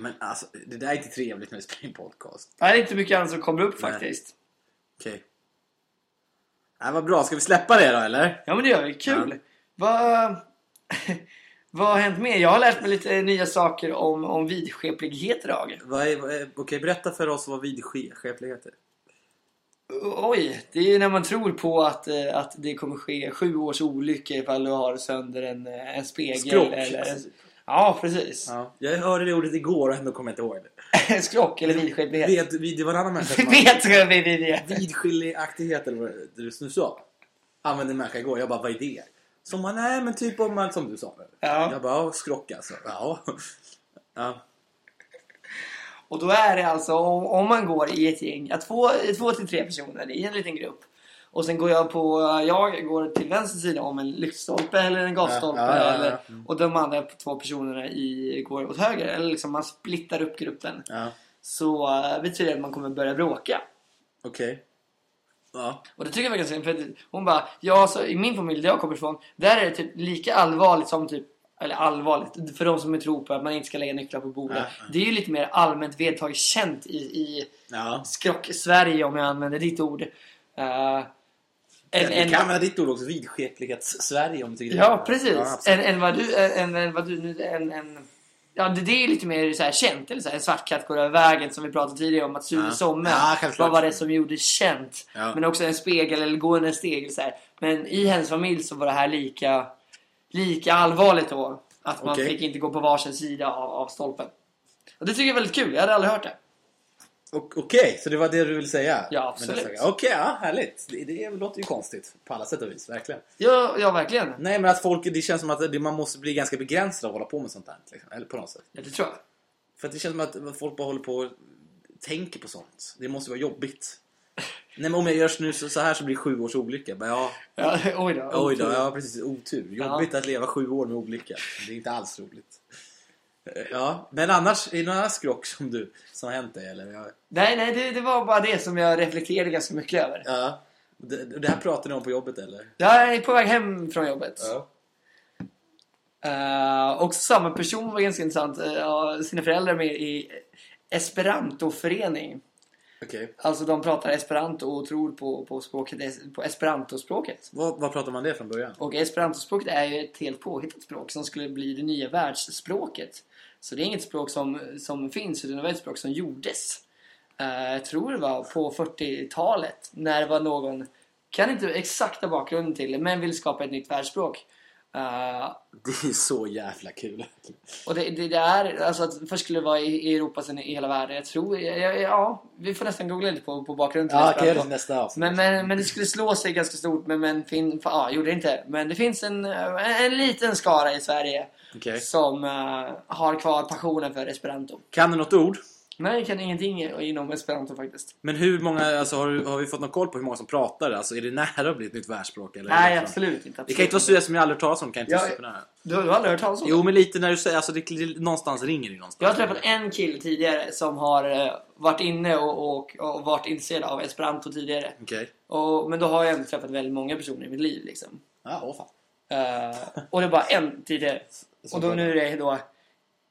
B: Men alltså, det där är inte trevligt när vi spelar in podcast.
A: det är inte mycket annat som kommer upp
B: Nej.
A: faktiskt.
B: Okej. Nej, vad bra. Ska vi släppa det då, eller?
A: Ja men det gör vi, kul!
B: Ja.
A: Vad, vad har hänt mer? Jag har lärt mig lite nya saker om, om vidskeplighet idag.
B: Vad är, vad är, okej, berätta för oss vad vidskeplighet är.
A: Oj, det är ju när man tror på att, eh, att det kommer ske sju års olycka ifall du har sönder en, eh, en spegel.
B: Skrock.
A: Eller, ja, precis.
B: Ja. Jag hörde det ordet igår och ändå kommer jag inte ihåg det.
A: Skrock eller vidskeplighet.
B: Vet, vi- det var en annan människa som
A: Vet du vad vi vi vet?
B: vidskiljaktighet eller vad det är som du sa. Använde en människa igår. Jag bara, vad är det? Som man, nej men typ om man, som du sa.
A: Ja.
B: Jag bara, ja, skrock alltså. Ja. ja.
A: Och då är det alltså om, om man går i ett gäng, ja, två, två till tre personer i en liten grupp. Och sen går jag på, jag går till vänster sida om en lyktstolpe eller en gasstolpe.
B: Ja, Mm. ja, ja, ja.
A: Eller, och de andra två personerna i, går åt höger. Eller liksom man splittar upp gruppen.
B: ja.
A: Så eh, betyder det att man kommer börja bråka.
B: Okej. Ja.
A: Och det tycker jag var ganska synd, för att hon bara, ja så i min familj där jag kommer ifrån, där är det typ lika allvarligt som typ eller allvarligt, för de som tror på att man inte ska lägga nycklar på bordet.
B: Ja, ja.
A: Det är ju lite mer allmänt vedertaget känt i, i
B: Ja.
A: skrock-Sverige om jag använder ditt ord. Eh, än-
B: Du
A: än-
B: kan använda ditt ord också, vidskeplighets-Sverige om du tycker det
A: ja,
B: är-
A: precis.
B: absolut.
A: än, än vad du... Än, än, än vad du nu... Än, än, ja, det, det är lite mer så här känt. Eller så här, en svart katt går över vägen som vi pratade tidigare om. Att Sune
B: Ja.
A: Sommer,
B: Ja, självklart.
A: vad var det som gjorde känt?
B: Ja.
A: Men också en spegel eller gående stegel. Så här. Men i hennes familj så var det här lika, lika allvarligt då. Att man
B: Okej.
A: fick inte gå på varsin sida av, av stolpen. Och det tycker jag är väldigt kul. Jag hade aldrig hört det.
B: Och- Okej, så det var det du ville säga?
A: Ja,
B: med
A: absolut.
B: dessa grejer. Okej, ja, härligt. Det, det låter ju konstigt på alla sätt och vis, verkligen.
A: Ja, ja verkligen.
B: Nej, men att folk, det känns som att det, man måste bli ganska begränsad av att hålla på med sånt där. Liksom, eller på något sätt.
A: Ja, det tror jag.
B: För att det känns som att folk bara håller på och tänker på sånt. Det måste vara jobbigt. Nej, men om jag gör snus så- så här så blir det sju års olycka. Men ja,
A: Ja, oj då.
B: oj då,
A: otur.
B: ja precis. Otur. Jobbigt att leva sju år med olycka. Det är inte alls roligt. Eh, Ja, men annars, är det någon annan skrock som du, som har hänt dig? Eller? Ja,
A: Nej, nej, det, det var bara det som jag reflekterade ganska mycket över.
B: ja. Det, det här pratade ni om på jobbet eller?
A: Jag är på väg hem från jobbet. Eh, också samma person var ganska intressant. eh, har sina föräldrar med i Esperantoförening.
B: Okej.
A: Alltså de pratar esperanto och tror på, på, språket, es- på esperantospråket.
B: Vad, vad pratar man det från början?
A: Och esperantospråket är ju ett helt påhittat språk som skulle bli det nya världsspråket. Så det är inget språk som, som finns utan det var ett språk som gjordes. Eh, jag tror det var på 40-talet när det var någon, kan inte exakta bakgrunden till det, men vill skapa ett nytt världsspråk. Eh,
B: Det är så jävla kul.
A: och det, det, det är, alltså att först skulle det vara i, i Europa sen i hela världen. Jag tror, ja, ja, ja vi får nästan googla lite på, på bakgrunden till
B: Ja, okej,
A: esperanto.
B: det är nästa avsnitt.
A: Men, men, men det skulle slå sig ganska stort, men, men fin, fa, ja, gjorde det inte. Men det finns en, eh, en liten skara i Sverige
B: Okej.
A: som eh, har kvar passionen för esperanto.
B: Kan du något ord?
A: Nej, jag kan ingenting inom esperanto faktiskt.
B: Men hur många, alltså har, du- har vi fått någon koll på hur många som pratar? Alltså är det nära att bli ett nytt världsspråk? Eller
A: Nej,
B: Eller-
A: absolut inte. Absolut.
B: Det kan inte vara så som jag aldrig hört talas om. Kan inte
A: Ja,
B: vara supernära.
A: Du, du har aldrig hört talas om
B: Jo,
A: det?
B: men lite när du säger, alltså det, det, någonstans ringer det någonstans.
A: Jag har träffat en kille tidigare som har eh, varit inne och, och, och varit intresserad av esperanto tidigare.
B: Okej.
A: Och, men då har jag ändå träffat väldigt många personer i mitt liv. Liksom.
B: Ja, åh fan.
A: Eh, och det var en tidigare.
B: Som
A: Och då,
B: pratar.
A: nu är det då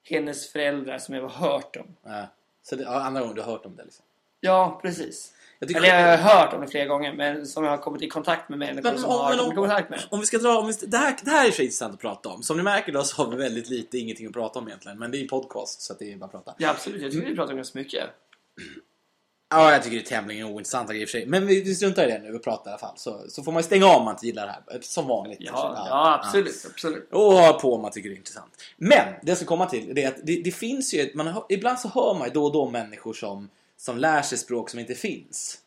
A: hennes föräldrar som jag har hört om.
B: Ja. Eh, Så det, ja, andra gången du har hört om det liksom.
A: Ja, precis.
B: Jag
A: Eller jag har hört om det flera gånger, men som jag har kommit i kontakt med människor
B: Men
A: som
B: om-
A: har
B: men om-
A: kommit i kontakt med.
B: Om vi ska dra, om vi, det, här, det här är i och för sig intressant att prata om. Som ni märker då så har vi väldigt lite, ingenting att prata om egentligen. Men det är ju podcast så att det är bara att prata.
A: Ja, absolut. Jag tycker vi pratar om ganska mycket.
B: Ja, jag tycker det är tämligen ointressanta grejer i och för sig. Men vi vi struntar i det nu och pratar i alla fall. Så, så får man ju stänga av om man inte gillar det här. Som vanligt.
A: Ja,
B: kanske.
A: ja absolut. absolut.
B: Och ha på om man tycker det är intressant. Men det jag ska komma till det är att det, det finns ju, ett- man, hör- ibland så hör man ju då och då människor som, som lär sig språk som inte finns.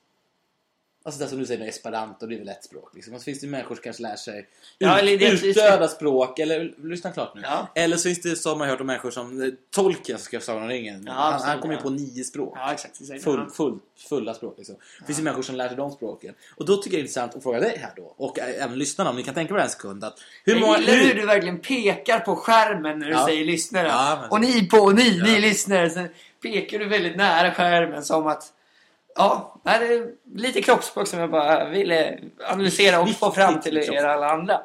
B: Alltså det som du säger med esperanto, det är väl ett språk. Liksom. Och så finns det ju människor som kanske lär sig
A: Ja, eller
B: ut,
A: det-
B: utdöda språk, eller lyssna klart nu.
A: Ja.
B: Eller så finns det, så har man hört om människor som eh, Tolkien som skrev Sagan om ringen.
A: Ja,
B: han, han
A: absolut,
B: kom ju
A: ja.
B: på nio språk.
A: Ja, exakt. exakt.
B: Full,
A: Ja.
B: full, fulla språk. Liksom. Det finns ju människor som lär sig de språken. Och då tycker jag det är intressant att fråga dig här då, och eh, även lyssnarna om ni kan tänka på det här en sekund. Att hur
A: Jag
B: många,
A: gillar
B: hur-
A: hur du verkligen pekar på skärmen när du
B: Ja.
A: säger lyssnare.
B: Ja, men-
A: Och ni på och ni,
B: Ja.
A: ni lyssnare. Sen pekar du väldigt nära skärmen som att... Ja, nej, det är lite kroppsspråk som jag bara ville analysera och få fram till er
B: liksom.
A: alla andra.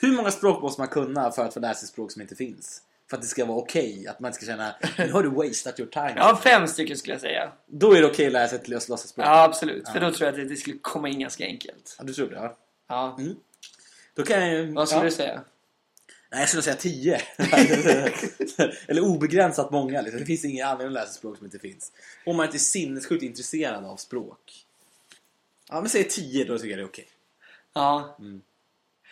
B: Hur många språk måste man kunna för att få lära sig språk som inte finns? För att det ska vara okej, att man inte ska känna nu har du wasted your time.
A: Ja, fem stycken skulle jag säga.
B: Då är det okej att lära sig ett löst låtsaspråk.
A: Ja, absolut. För då tror jag att det, det skulle komma in ganska enkelt.
B: Ja, du tror det? Ja.
A: Ja.
B: Mm. Då kan jag ju...
A: Vad skulle
B: ja.
A: du säga?
B: Nej, jag skulle säga tio. Eller obegränsat många. Liksom. Det finns ingen anledning att lära sig språk som inte finns. Om man inte är sinnessjukt intresserad av språk. Ja, men säg tio, då tycker jag det är okej.
A: Ja.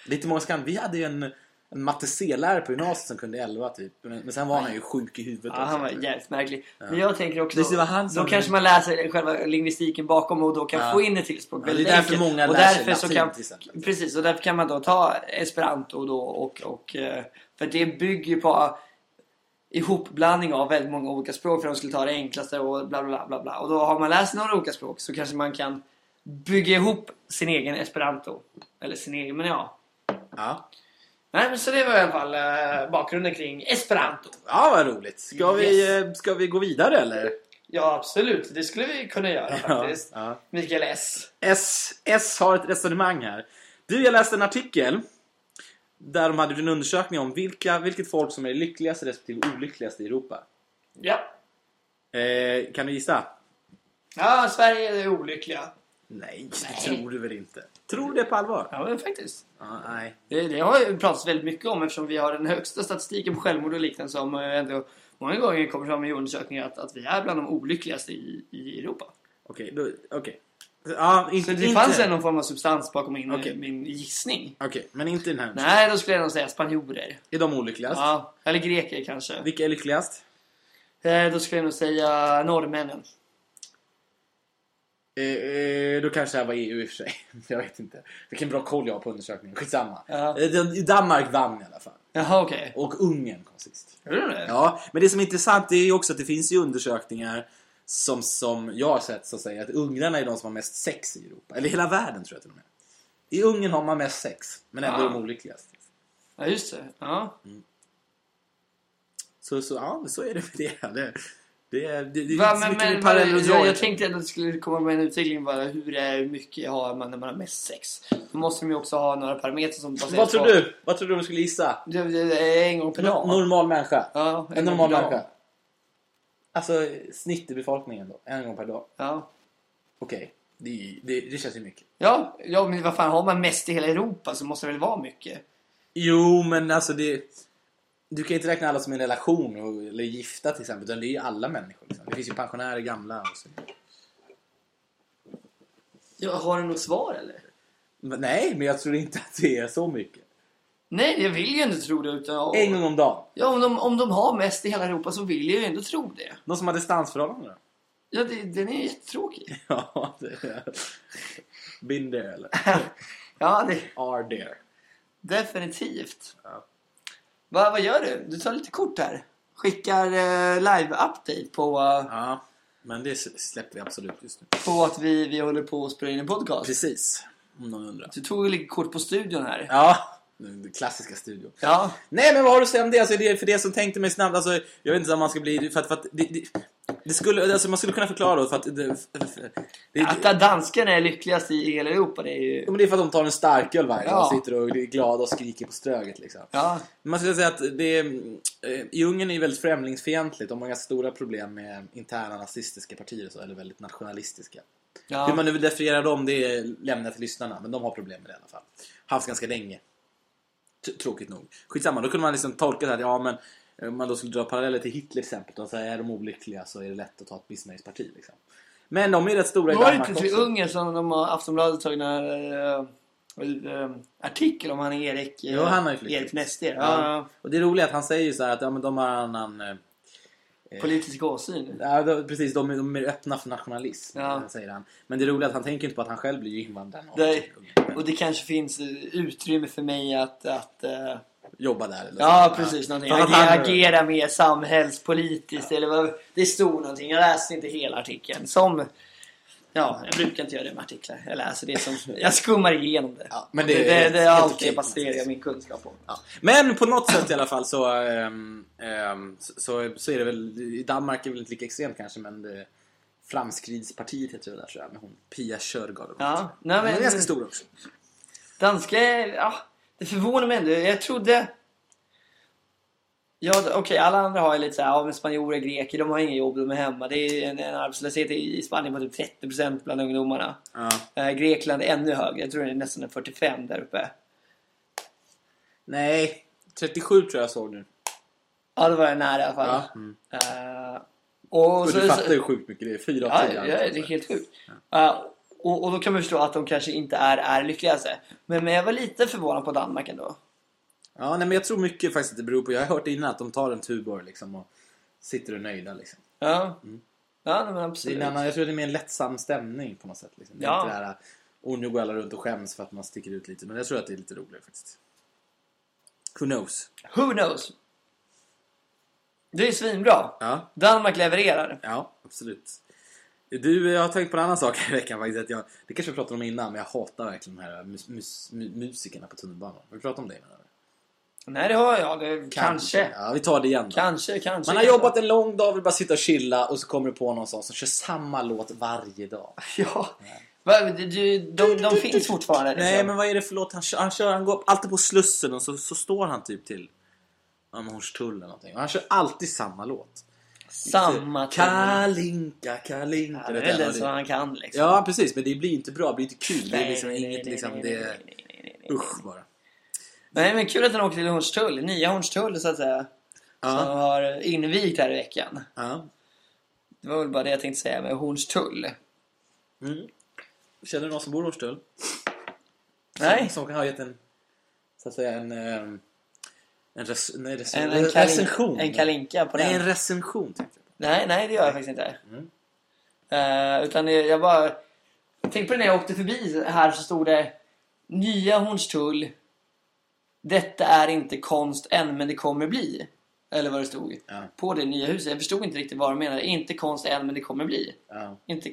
B: Lite många skam. Vi hade ju en, en matte C-lärare på gymnasiet som kunde elva, typ. Men, men sen var han ju sjuk i huvudet.
A: ja, han var
B: också.
A: jävligt märklig. Men jag tänker också...
B: Visst, det var han som-
A: Då kanske man läser själva lingvistiken bakom och då kan
B: Ja.
A: få in ett till språk
B: Ja,
A: väldigt
B: det är därför
A: enkelt.
B: många
A: och
B: lär sig
A: därför så
B: latin,
A: kan,
B: till exempel.
A: Precis, och därför kan man då ta esperanto då och... och eh, för det bygger ju på ah, ihopblandning av väldigt många olika språk för de skulle ta det enklaste och bla bla bla bla. Och då har man läst några olika språk så kanske man kan bygga ihop sin egen esperanto. Eller sin egen, men ja.
B: Ja.
A: Nej, men så det var i alla fall eh, bakgrunden kring Esperanto.
B: Ja, vad roligt. Ska, vi,
A: Yes.
B: eh, ska vi gå vidare eller?
A: Ja, absolut. Det skulle vi kunna göra faktiskt.
B: ja.
A: Mikael S.
B: S, S har ett resonemang här. Du, jag läste en artikel där de hade gjort en undersökning om vilka, vilket folk som är lyckligast respektive olyckligast i Europa.
A: Ja.
B: Eh, kan du gissa?
A: Ja, Sverige är olyckliga.
B: Nej,
A: Nej.
B: det tror du väl inte? Tror du det på allvar?
A: Ja, men faktiskt.
B: Ja, nej.
A: Det, det har ju pratats väldigt mycket om eftersom vi har den högsta statistiken på självmord och liknande som eh, ändå många gånger kommer fram i undersökningar att, att vi är bland de olyckligaste i, i Europa.
B: Okej, då... Okej. Ja,
A: Så
B: inte...
A: det
B: inte-
A: fanns ändå någon form av substans bakom min,
B: Okej.
A: min gissning.
B: Okej, men inte den här.
A: Nej, då skulle jag nog säga spanjorer.
B: Är de olyckligast?
A: Ja, eller greker kanske.
B: Vilka är lyckligast?
A: Eh, Då skulle jag nog säga norrmännen.
B: Eh, eh, då kanske det här var EU i och för sig. Jag vet inte. Vilken bra koll jag har på undersökningen. Skitsamma.
A: Ja.
B: Eh, den- Danmark vann i alla fall.
A: Jaha, okej.
B: Och Ungern kom sist.
A: Gjorde du det?
B: Ja, men det som är intressant det är ju också att det finns ju undersökningar som, som jag har sett så att säga att ungrarna är de som har mest sex i Europa. Eller hela världen tror jag till och med. I Ungern har man mest sex, men ändå
A: Ah.
B: är de olyckligast.
A: Ja, just det. Ja.
B: Så, så ja, så är det med det. det. Det är, det, det är
A: Va,
B: inte så
A: men,
B: mycket
A: men,
B: paralleller att dra
A: jag, jag
B: egentligen.
A: tänkte att det skulle komma med en utveckling bara hur är- mycket har man när man har mest sex. Då måste de ju också ha några parametrar som baseras
B: Vad tror
A: på-
B: du? Vad tror du de skulle gissa?
A: Det- det- det är En gång per dag.
B: Normal människa.
A: ja,
B: En
A: gång
B: normal
A: per dag.
B: människa. Alltså snitt i befolkningen då. En gång per dag.
A: Ja.
B: Okej. Det, är ju- det, det känns ju mycket.
A: Ja, ja, men vad fan har man mest i hela Europa så måste det väl vara mycket?
B: Jo, men alltså det... Du kan inte räkna alla som är i en relation och, eller gifta till exempel. Utan det är ju alla människor. Liksom. Det finns ju pensionärer, gamla och så.
A: Ja, har du något svar eller?
B: Men, nej, men jag tror inte att det är så mycket.
A: Nej, jag vill ju ändå tro det. Utan, ja,
B: En gång om dagen.
A: ja, om, de, om de har mest i hela Europa så vill jag ju ändå tro det.
B: Någon som har distansförhållanden då?
A: Ja, det, den är ju jättetråkig.
B: Ja, det är... Been there eller?
A: ja, det,
B: Are there.
A: definitivt.
B: Ja.
A: Va, vad gör du? Du tar lite kort här. Skickar eh, live-update på, eh,
B: Ja, men det släpper vi absolut just nu.
A: på att vi, vi håller på att spela in en podcast.
B: Precis, om någon undrar.
A: Du tog ju lite kort på studion här.
B: Ja, den den klassiska studion.
A: Ja,
B: Nej, men vad har du att säga om det? Alltså, det är för det som tänkte mig snabbt, alltså, jag vet inte om man ska bli... För att, för att det, det, det skulle, alltså, man skulle kunna förklara då, för att... Det, för, för, det,
A: att danskarna är lyckligast i hela Europa det är ju...
B: Jo, men det är för att de tar en starköl varje dag
A: Ja.
B: och sitter och är glada och skriker på ströget liksom.
A: Ja,
B: Man skulle säga att det är, eh, i Ungern är ju väldigt främlingsfientligt. De har ganska stora problem med interna nazistiska partier och så, eller väldigt nationalistiska.
A: ja.
B: Hur man nu vill definiera dem, det är lämnat till lyssnarna. Men de har problem med det i alla fall. Haft ganska länge. T- Tråkigt nog. Skitsamma, då kunde man liksom tolka det här, ja men eh, om man då skulle dra paralleller till Hitler till exempel. Då, så här, är de olyckliga så är det lätt att ta ett missnöjesparti. Liksom. Men de är rätt stora i
A: Var det
B: Danmark
A: inte till
B: också.
A: Ungern som de har Aftonbladet tagit en eh, eh, artikel om han Erik, eh,
B: Jo, han har ju flyttat.
A: Erik Nester?
B: Ja.
A: Ja.
B: Och det är roligt att han säger ju så här att ja, men de har en annan... eh, eh,
A: politisk åsyn.
B: Ja, då, precis. De, är- de är öppna för nationalism,
A: Ja.
B: säger han. Men det roliga är att han tänker inte på att han själv blir ju invandrare. och- typ
A: Nej.
B: och
A: Och det kanske finns eh, utrymme för mig att, att eh,
B: Jobba där. Eller
A: ja
B: så.
A: precis, någonting.
B: För att
A: Agera,
B: han-
A: agera mer samhällspolitiskt eller vad, det stod någonting. Jag läste inte hela artikeln. Som, ja, jag brukar inte göra det med artiklar. Jag läser det som, jag skummar igenom det.
B: Ja, men det
A: det,
B: är
A: det, det,
B: helt-
A: är
B: helt
A: allt
B: okej.
A: jag baserar jag min kunskap på.
B: Ja. Men på något sätt i alla fall så, ehm, ehm, så, så, så är det väl, i Danmark är det väl inte lika extremt kanske men det, Framskridspartiet heter det där tror jag, med hon Pia Körgaard.
A: Ja, nej,
B: Hon är
A: men-
B: ganska stor också.
A: Danska, ja, det förvånar mig ändå. Jag trodde... Ja, okej, alla andra har ju lite så här, ja men spanjorer, greker, de har inga jobb, de är hemma. Det är en, en arbetslöshet i i Spanien på typ 30% bland ungdomarna.
B: Ja.
A: Eh, Grekland är ännu högre, jag tror det är nästan 45 där uppe.
B: Nej, 37 tror jag jag såg nu.
A: Ja, det var jag nära i alla fall.
B: Ja. Mm.
A: Eh, och
B: Och
A: så,
B: du fattar hur sjukt mycket det är, 4 av
A: Ja,
B: 10.
A: ja, det är helt sjukt. Eh, och, och då kan man förstå att de kanske inte är, är lyckligaste. Men, men jag var lite förvånad på Danmark ändå.
B: Ja, nej, men jag tror mycket faktiskt att det beror på, jag har hört innan att de tar en Tuborg liksom och sitter och är nöjda liksom.
A: Ja, ja nej, men
B: Det är
A: absolut.
B: en annan, jag tror det är mer en lättsam stämning på något sätt. Liksom. Det är
A: Ja.
B: inte det här, och nu går alla runt och skäms för att man sticker ut lite. Men jag tror att det är lite roligare faktiskt. Who knows?
A: Who knows? Det är svinbra.
B: Ja,
A: Danmark levererar.
B: ja absolut. Du, jag har tänkt på en annan sak här i veckan faktiskt. Att jag, det kanske vi pratade om innan, men jag hatar verkligen de här mus, mus, mu- musikerna på tunnelbanan. Har vi pratat om det innan? eller?
A: Nej, det hör jag. Det, kanske. Kanske,
B: Ja, vi tar det igen då.
A: kanske. kanske
B: Man har jobbat en lång dag och vill bara sitta och chilla och så kommer du på någon sån som kör samma låt varje dag.
A: Ja. Va, du, du, de, de finns fortfarande. liksom.
B: Nej men vad är det för låt han kör? Han, kör, han går alltid på Slussen och så, så står han typ till ja, men Hornstull eller någonting. Och han kör alltid samma låt.
A: Samma
B: Så,
A: tema.
B: Kalinka, Kalinka.
A: Ja, Det
B: vet
A: är
B: jag,
A: den
B: och det-
A: som han kan liksom.
B: ja precis men det blir inte bra, det blir inte kul. det är
A: Nej,
B: liksom
A: nej, nej,
B: inget
A: nej,
B: liksom,
A: nej,
B: det
A: nej,
B: är
A: nej, nej, nej, nej.
B: usch bara.
A: Nej, men kul att han åkte till Hornstull. Nya Hornstull så att säga.
B: Ja,
A: Som har invigt här i veckan.
B: ja.
A: Det var väl bara det jag tänkte säga med Hornstull.
B: Mm. Känner du någon som bor i Hornstull?
A: Nej.
B: Som, som kan ha gett en, så att säga en, ehm, en, res, nej, res,
A: En, en,
B: en
A: kalin-
B: recension?
A: en kalinka på
B: Nej,
A: den.
B: en recension tänkte jag.
A: Nej, nej det gör jag faktiskt inte.
B: Mm.
A: Eh, utan jag, jag bara... Tänk på det när jag åkte förbi här så stod det Nya Hornstull. Detta är inte konst än men det kommer bli. Eller vad det stod.
B: Ja.
A: På det nya huset. Jag förstod inte riktigt vad de menade. Inte konst än men det kommer bli.
B: Ja.
A: Inte...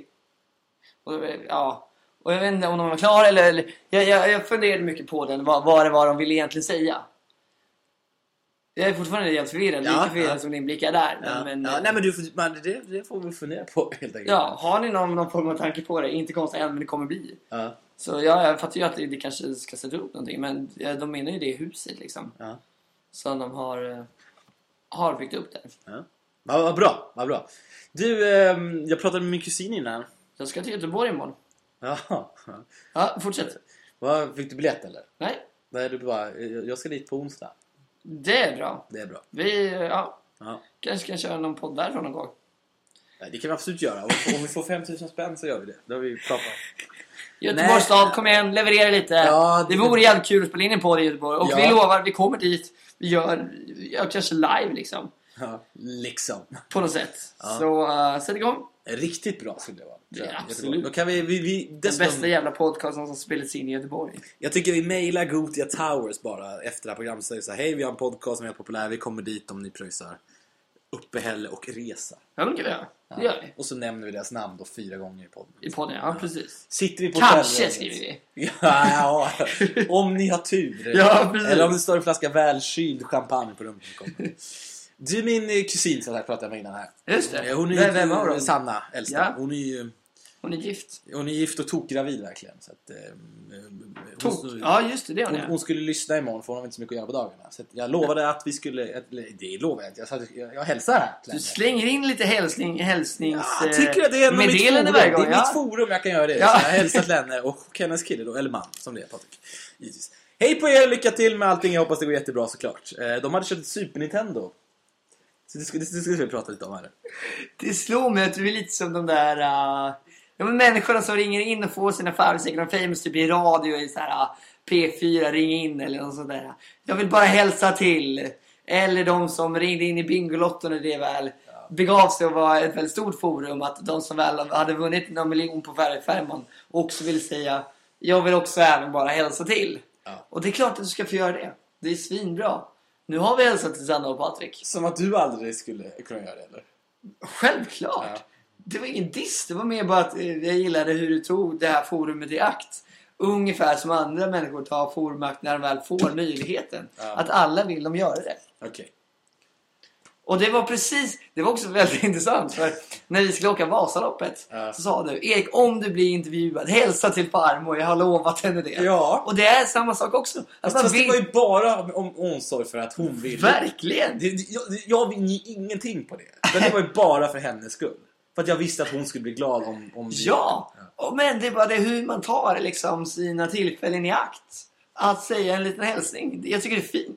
A: Och, det var- ja. Och jag vet inte om de var klara eller... eller jag, jag, jag funderade mycket på den. Vad, vad det var de ville egentligen säga. Jag är fortfarande helt förvirrad.
B: Ja,
A: Lika förvirrad
B: ja.
A: som din blick är där.
B: Ja,
A: Men, eh,
B: ja, nej, men du, får- man, det, det får vi fundera på helt enkelt.
A: ja, har ni någon, någon form av tanke på det? Inte konstigt än, men det kommer bli.
B: Ja,
A: Så ja, jag fattar ju att det, det kanske ska sätta upp någonting. Men ja, de menar ju det huset liksom.
B: ja,
A: Som de har, eh, har byggt upp där.
B: ja. Vad vad bra, vad bra. Du, ehm, jag pratade med min kusin innan.
A: Jag ska till Göteborg imorgon.
B: Ja.
A: Ja, fortsätt.
B: Vad, fick du biljett eller?
A: Nej,
B: Nej, du bara, eh, jag ska dit på onsdag.
A: det är bra.
B: Det är bra.
A: Vi eh, ja,
B: Ja.
A: kanske kan köra någon podd därifrån någon gång.
B: Nej, det kan vi absolut göra. Om, om vi får 5000 spänn så gör vi det. Det har vi ju pratat om. Nej.
A: Göteborgs stad, kom igen, leverera lite.
B: Ja,
A: det...
B: det-
A: vore jävligt kul att spela in en podd i Göteborg. Och
B: Ja.
A: vi lovar, vi kommer dit. Vi gör, gör kanske live liksom.
B: Ja, liksom.
A: På något sätt.
B: Ja.
A: Så uh, sätt igång.
B: Riktigt bra skulle det vara. tror jag.
A: Ja, absolut.
B: Jättebra. Då kan vi, vi, vi
A: Den
B: dessutom,
A: bästa jävla podcasten som spelats in i Göteborg.
B: Jag tycker vi mejlar Gotia Towers bara efter det här programmet och säger så här, Hej, vi har en podcast som är populär. Vi kommer dit om ni pröjsar uppehälle och resa.
A: Ja, men det kan vi göra. Det gör vi.
B: Och så nämner vi deras namn då fyra gånger i podden.
A: I podden, ja precis.
B: Sitter vi på
A: Kanske
B: hotellrummet?
A: skriver vi.
B: Ja, om ni har tur.
A: Ja, precis.
B: Eller om det står en flaska välkyld champagne på rummet. som kommer. Du, min eh, kusin som jag pratade med innan här.
A: Just det.
B: Eh, Hon är ju
A: Vem- vem av dem?
B: Sanna, äldsta.
A: Ja.
B: Hon är ju
A: Hon är gift.
B: hon är gift och tokgravid verkligen. Så att, eh, eh,
A: Tok.
B: hon,
A: Ja, just det. Det är hon,
B: hon,
A: ja.
B: hon skulle lyssna imorgon för hon har inte så mycket att göra på dagarna. Så att jag lovade att vi skulle... Att, eller, det lovade jag inte. Jag, sa att jag, jag hälsar här. till
A: Du
B: henne.
A: slänger in lite hälsning, hälsnings... eh,
B: Ja, tycker jag det är ändå mitt forum.
A: meddelande
B: Det
A: varje gång.
B: är
A: ja.
B: mitt forum jag kan göra det i.
A: Ja.
B: Så jag hälsar till henne och hennes kille då, eller man som det är Patrik. Givetvis. Hej på er, lycka till med allting. Jag hoppas det går jättebra såklart. Eh, De hade köpt ett Super Nintendo. Så det ska, det ska vi prata lite om här.
A: Det slår mig att du är lite som de där uh, ja, men människorna som ringer in och får sina Farbror och Famous typ i radio i så här, ah, P4 ring in eller något sånt där. Jag vill bara hälsa till. Eller de som ringde in i Bingolotto när det väl begav sig och var ett väldigt stort forum. Att de som väl hade vunnit någon miljon på Färgfärman också vill säga jag vill också även bara hälsa till.
B: Ja.
A: Och det är klart att du ska få göra det. Det är svinbra. Nu har vi hälsat till Sanna och Patrik.
B: Som att du aldrig skulle kunna göra det eller?
A: Självklart!
B: Ja.
A: Det var ingen diss, det var mer bara att eh, jag gillade hur du tog det här forumet i akt. Ungefär som andra människor tar forumakt när de väl får möjligheten.
B: Ja.
A: Att alla vill de göra det.
B: Okej.
A: Och det var precis, det var också väldigt intressant för när vi skulle åka Vasaloppet
B: Ja.
A: så sa du Erik om du blir intervjuad, hälsa till farmor, jag har lovat henne det.
B: Ja.
A: Och det är samma sak också. Alltså, Att
B: Fast,
A: man
B: fast det
A: vill,
B: var ju bara om, om omsorg för att hon ville.
A: verkligen!
B: Det, det- jag, jag vinner ju ingenting på det. Men det var ju bara för hennes skull. För att jag visste att hon skulle bli glad om... om vi-
A: Ja, och men det är bara det hur man tar liksom sina tillfällen i akt. Att säga en liten hälsning. Jag tycker det är fint.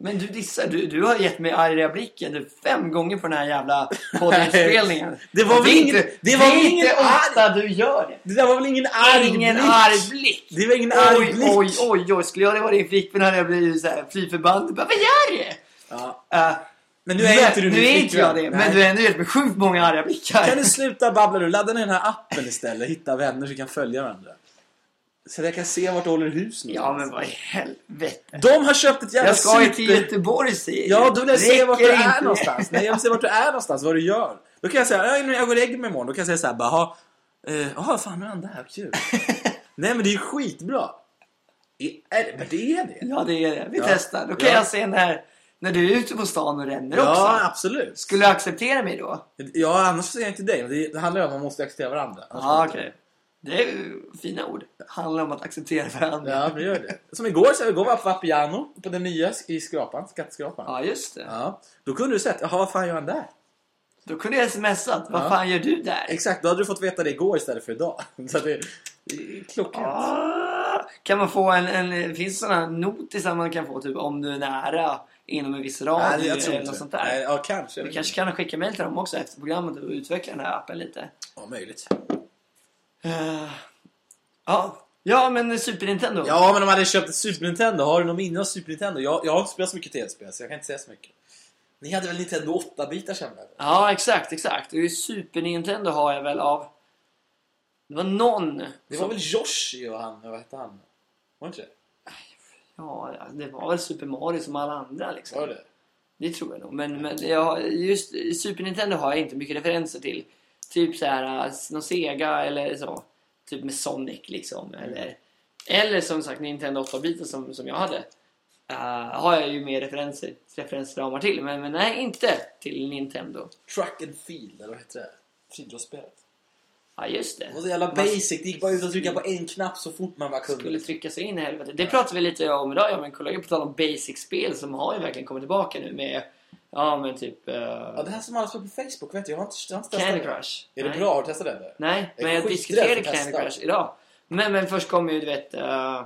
A: Men du dissar, du, du har gett mig arga blicken du, fem gånger på den här jävla poddinspelningen.
B: Det var
A: Och
B: väl ingen-
A: inte,
B: det var väl
A: är
B: ingen
A: inte
B: arg-
A: ofta du gör det.
B: Det där var väl ingen arg
A: Ingen
B: blick?
A: arg blick.
B: Det var ingen arg
A: Oj,
B: blick.
A: oj, oj, oj. Skulle jag det vara din flickvän hade jag blivit så här fly förbannad. Bara, Vad gör du?
B: Ja.
A: Eh,
B: Men nu är inte du
A: nu
B: min
A: är inte jag det,
B: flickvän. Nej.
A: men du är ändå gett mig sjukt många arga blickar.
B: Kan du sluta babbla nu? Ladda ner den här appen istället. Hitta vänner så vi kan följa varandra. Så att jag kan se vart du håller hus nu.
A: Ja, men vad i helvete.
B: De har köpt ett jävla
A: Jag ska ju till
B: super...
A: Göteborg säger
B: Ja, då vill jag se
A: Räcker
B: vart du är
A: inte.
B: någonstans. Nej, jag vill se vart du är någonstans, vad du gör. Då kan jag säga, "Ja, jag går och lägger mig imorgon. Då kan jag säga så här, bara, "Jaha, eh, jaha, fan nu är han där, kul. Nej, men det är ju skitbra. I, är, men det är det.
A: Ja, det är det. Vi
B: Ja.
A: testar. Då kan
B: Ja.
A: jag se när, när du är ute på stan och ränner
B: Ja,
A: också.
B: absolut.
A: Skulle du acceptera mig då?
B: Ja, annars säger jag inte dig. men Det, det handlar ju om att man måste acceptera varandra. Annars
A: Ja, okej. Det är ju fina ord. Handlar om att acceptera varandra. Ja,
B: Ja, vi gör det. Som igår, så igår var jag på Vapiano, på den nya sk- i skrapan, skatteskrapan. Ja.
A: just det.
B: Då kunde du sett, jaha vad fan gör han där?
A: Då kunde jag smsat. Vad
B: Ja.
A: fan gör du där?
B: Exakt, då hade du fått veta det igår istället för idag. Så att det det är klockrent.
A: Ah, kan man få en, en... Finns det sådana notisar man kan få typ om du är nära inom en viss radio
B: Nej,
A: eller något sånt där?
B: Nej, ja, kanske.
A: Vi kanske kan skicka mejl till dem också efter programmet och utveckla den här appen lite.
B: Ja, möjligt.
A: Eh, ja. ja, men Super Nintendo.
B: Ja, men de hade köpt ett Super Nintendo. Har du någon minne av Super Nintendo? Jag, jag har inte spelat så mycket tv-spel, så jag kan inte säga så mycket. Ni hade väl Nintendo 8-bitar känner jag?
A: Ja, exakt, exakt. Och Super Nintendo har jag väl av... Det var någon...
B: Det var väl Yoshi och han, vad hette han? Var det inte det?
A: Ja, ja, det var väl Super Mario som alla andra liksom.
B: Var det det?
A: Det tror jag nog. Men, men jag, har- just i Super Nintendo har jag inte mycket referenser till. Typ så här, eh, någon Sega eller så.
B: Mm.
A: Typ med Sonic liksom. Eller, eller som sagt Nintendo 8-bitar som, som jag hade. eh, har jag ju mer referenser, referensramar till. Men, men nej, inte till Nintendo.
D: Track and field, eller vad heter det? Friidrottsspelet.
A: Ja, just det.
D: Det var så jävla basic. Det gick bara ut att trycka på en knapp så fort man bara
A: skulle
D: kunde.
B: liksom.
D: liksom.
A: trycka sig in i helvete. Det pratar vi lite om idag, ja, men kollegor på tal om basic-spel som har ju verkligen kommit tillbaka nu med, ja men typ eh,
D: Ja, det här som alla spelar på Facebook, vet du. Jag har inte, jag har inte testat
A: Candy
D: det.
A: Crush.
D: Är det
A: Nej.
D: bra? Har du testat det? eller?
A: Nej,
D: Jag är
A: men jag
D: skiträdd
A: diskuterade
D: för att
A: Candy
D: testa.
A: Crush idag. Men, men först kom ju du vet, uh,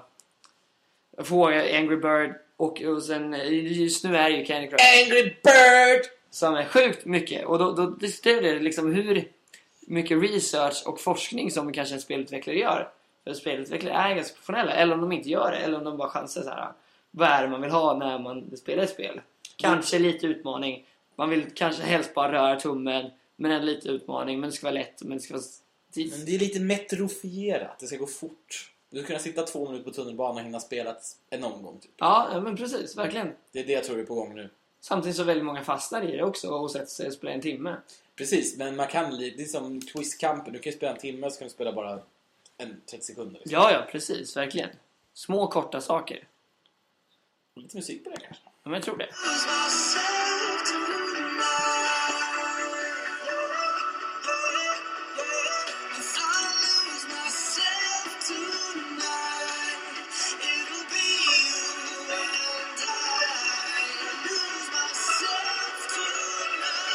A: Angry Bird och, och sen eh, just nu är det ju Candy Crush.
D: Angry Bird!
A: som är sjukt mycket. Och då, då diskuterar det liksom hur mycket research och forskning som kanske en spelutvecklare gör. För spelutvecklare är ganska professionella. Eller om de inte gör det. Eller om de bara chansar så här. Vad är det man vill ha när man spelar ett spel? Kanske lite utmaning. Man vill kanske helst bara röra tummen. Men en lite utmaning. Men det ska vara lätt. Men det ska vara
B: Mm.
D: Men
A: tids...
D: det är lite metrofierat. Det ska gå fort. Du ska kunna sitta två minuter på tunnelbanan och hinna spela en omgång. Typ.
A: Ja, ja, men precis. Verkligen.
D: Det är det jag tror är på gång nu.
A: Samtidigt så väldigt många fastnar i det också och sätter sig och spelar en timme.
D: Precis, men man kan li- Det är som quizkampen. Du kan ju spela en timme så kan du spela bara en 30 sekunder. Liksom.
A: Ja, ja, precis. Verkligen. Små korta saker.
D: Lite musik på det kanske.
A: Ja, men jag tror det.
C: Lose myself to moonlight. If I lose myself tonight, it'll be you and I. Lose myself tonight.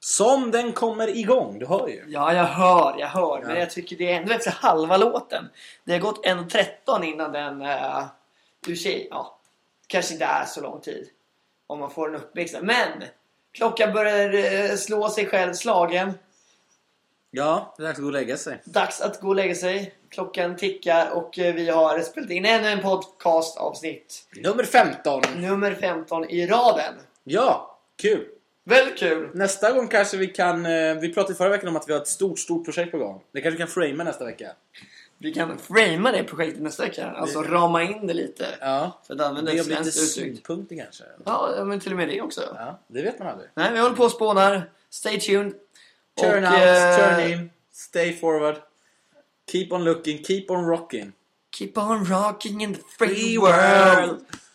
B: Som den kommer igång, du hör ju.
A: Ja, jag hör, jag hör. Men jag tycker det är ändå efter halva låten. Det har gått 1.13 innan den... Uh, ur sig, ja. Kanske inte är så lång tid. Om man får den uppväxten. Men! Klockan börjar eh, slå sig själv slagen.
B: Ja, det är dags att gå och lägga sig.
A: Dags att gå och lägga sig. Klockan tickar och eh, vi har spelat in ännu en podcastavsnitt.
B: Nummer 15!
A: Nummer 15 i raden.
B: Ja, kul!
A: Väldigt kul!
B: Nästa gång kanske vi kan... eh, Vi pratade förra veckan om att vi har ett stort, stort projekt på gång. Det kanske vi kan framea nästa vecka.
A: Vi kan framea det projektet nästa vecka. Alltså rama in det lite.
B: Ja.
A: För att använda
B: Det
A: ett
B: blir lite
A: svenskt uttryck.
B: synpunkter kanske.
A: Ja, men till och med det också.
B: Ja, det vet man aldrig.
A: Nej, vi håller på och spånar. Stay tuned.
B: Turn
A: Och,
B: out,
A: eh,
B: turn in, stay forward. Keep on looking, keep on rocking.
A: Keep on rocking in the free
B: Free
A: world.
B: world.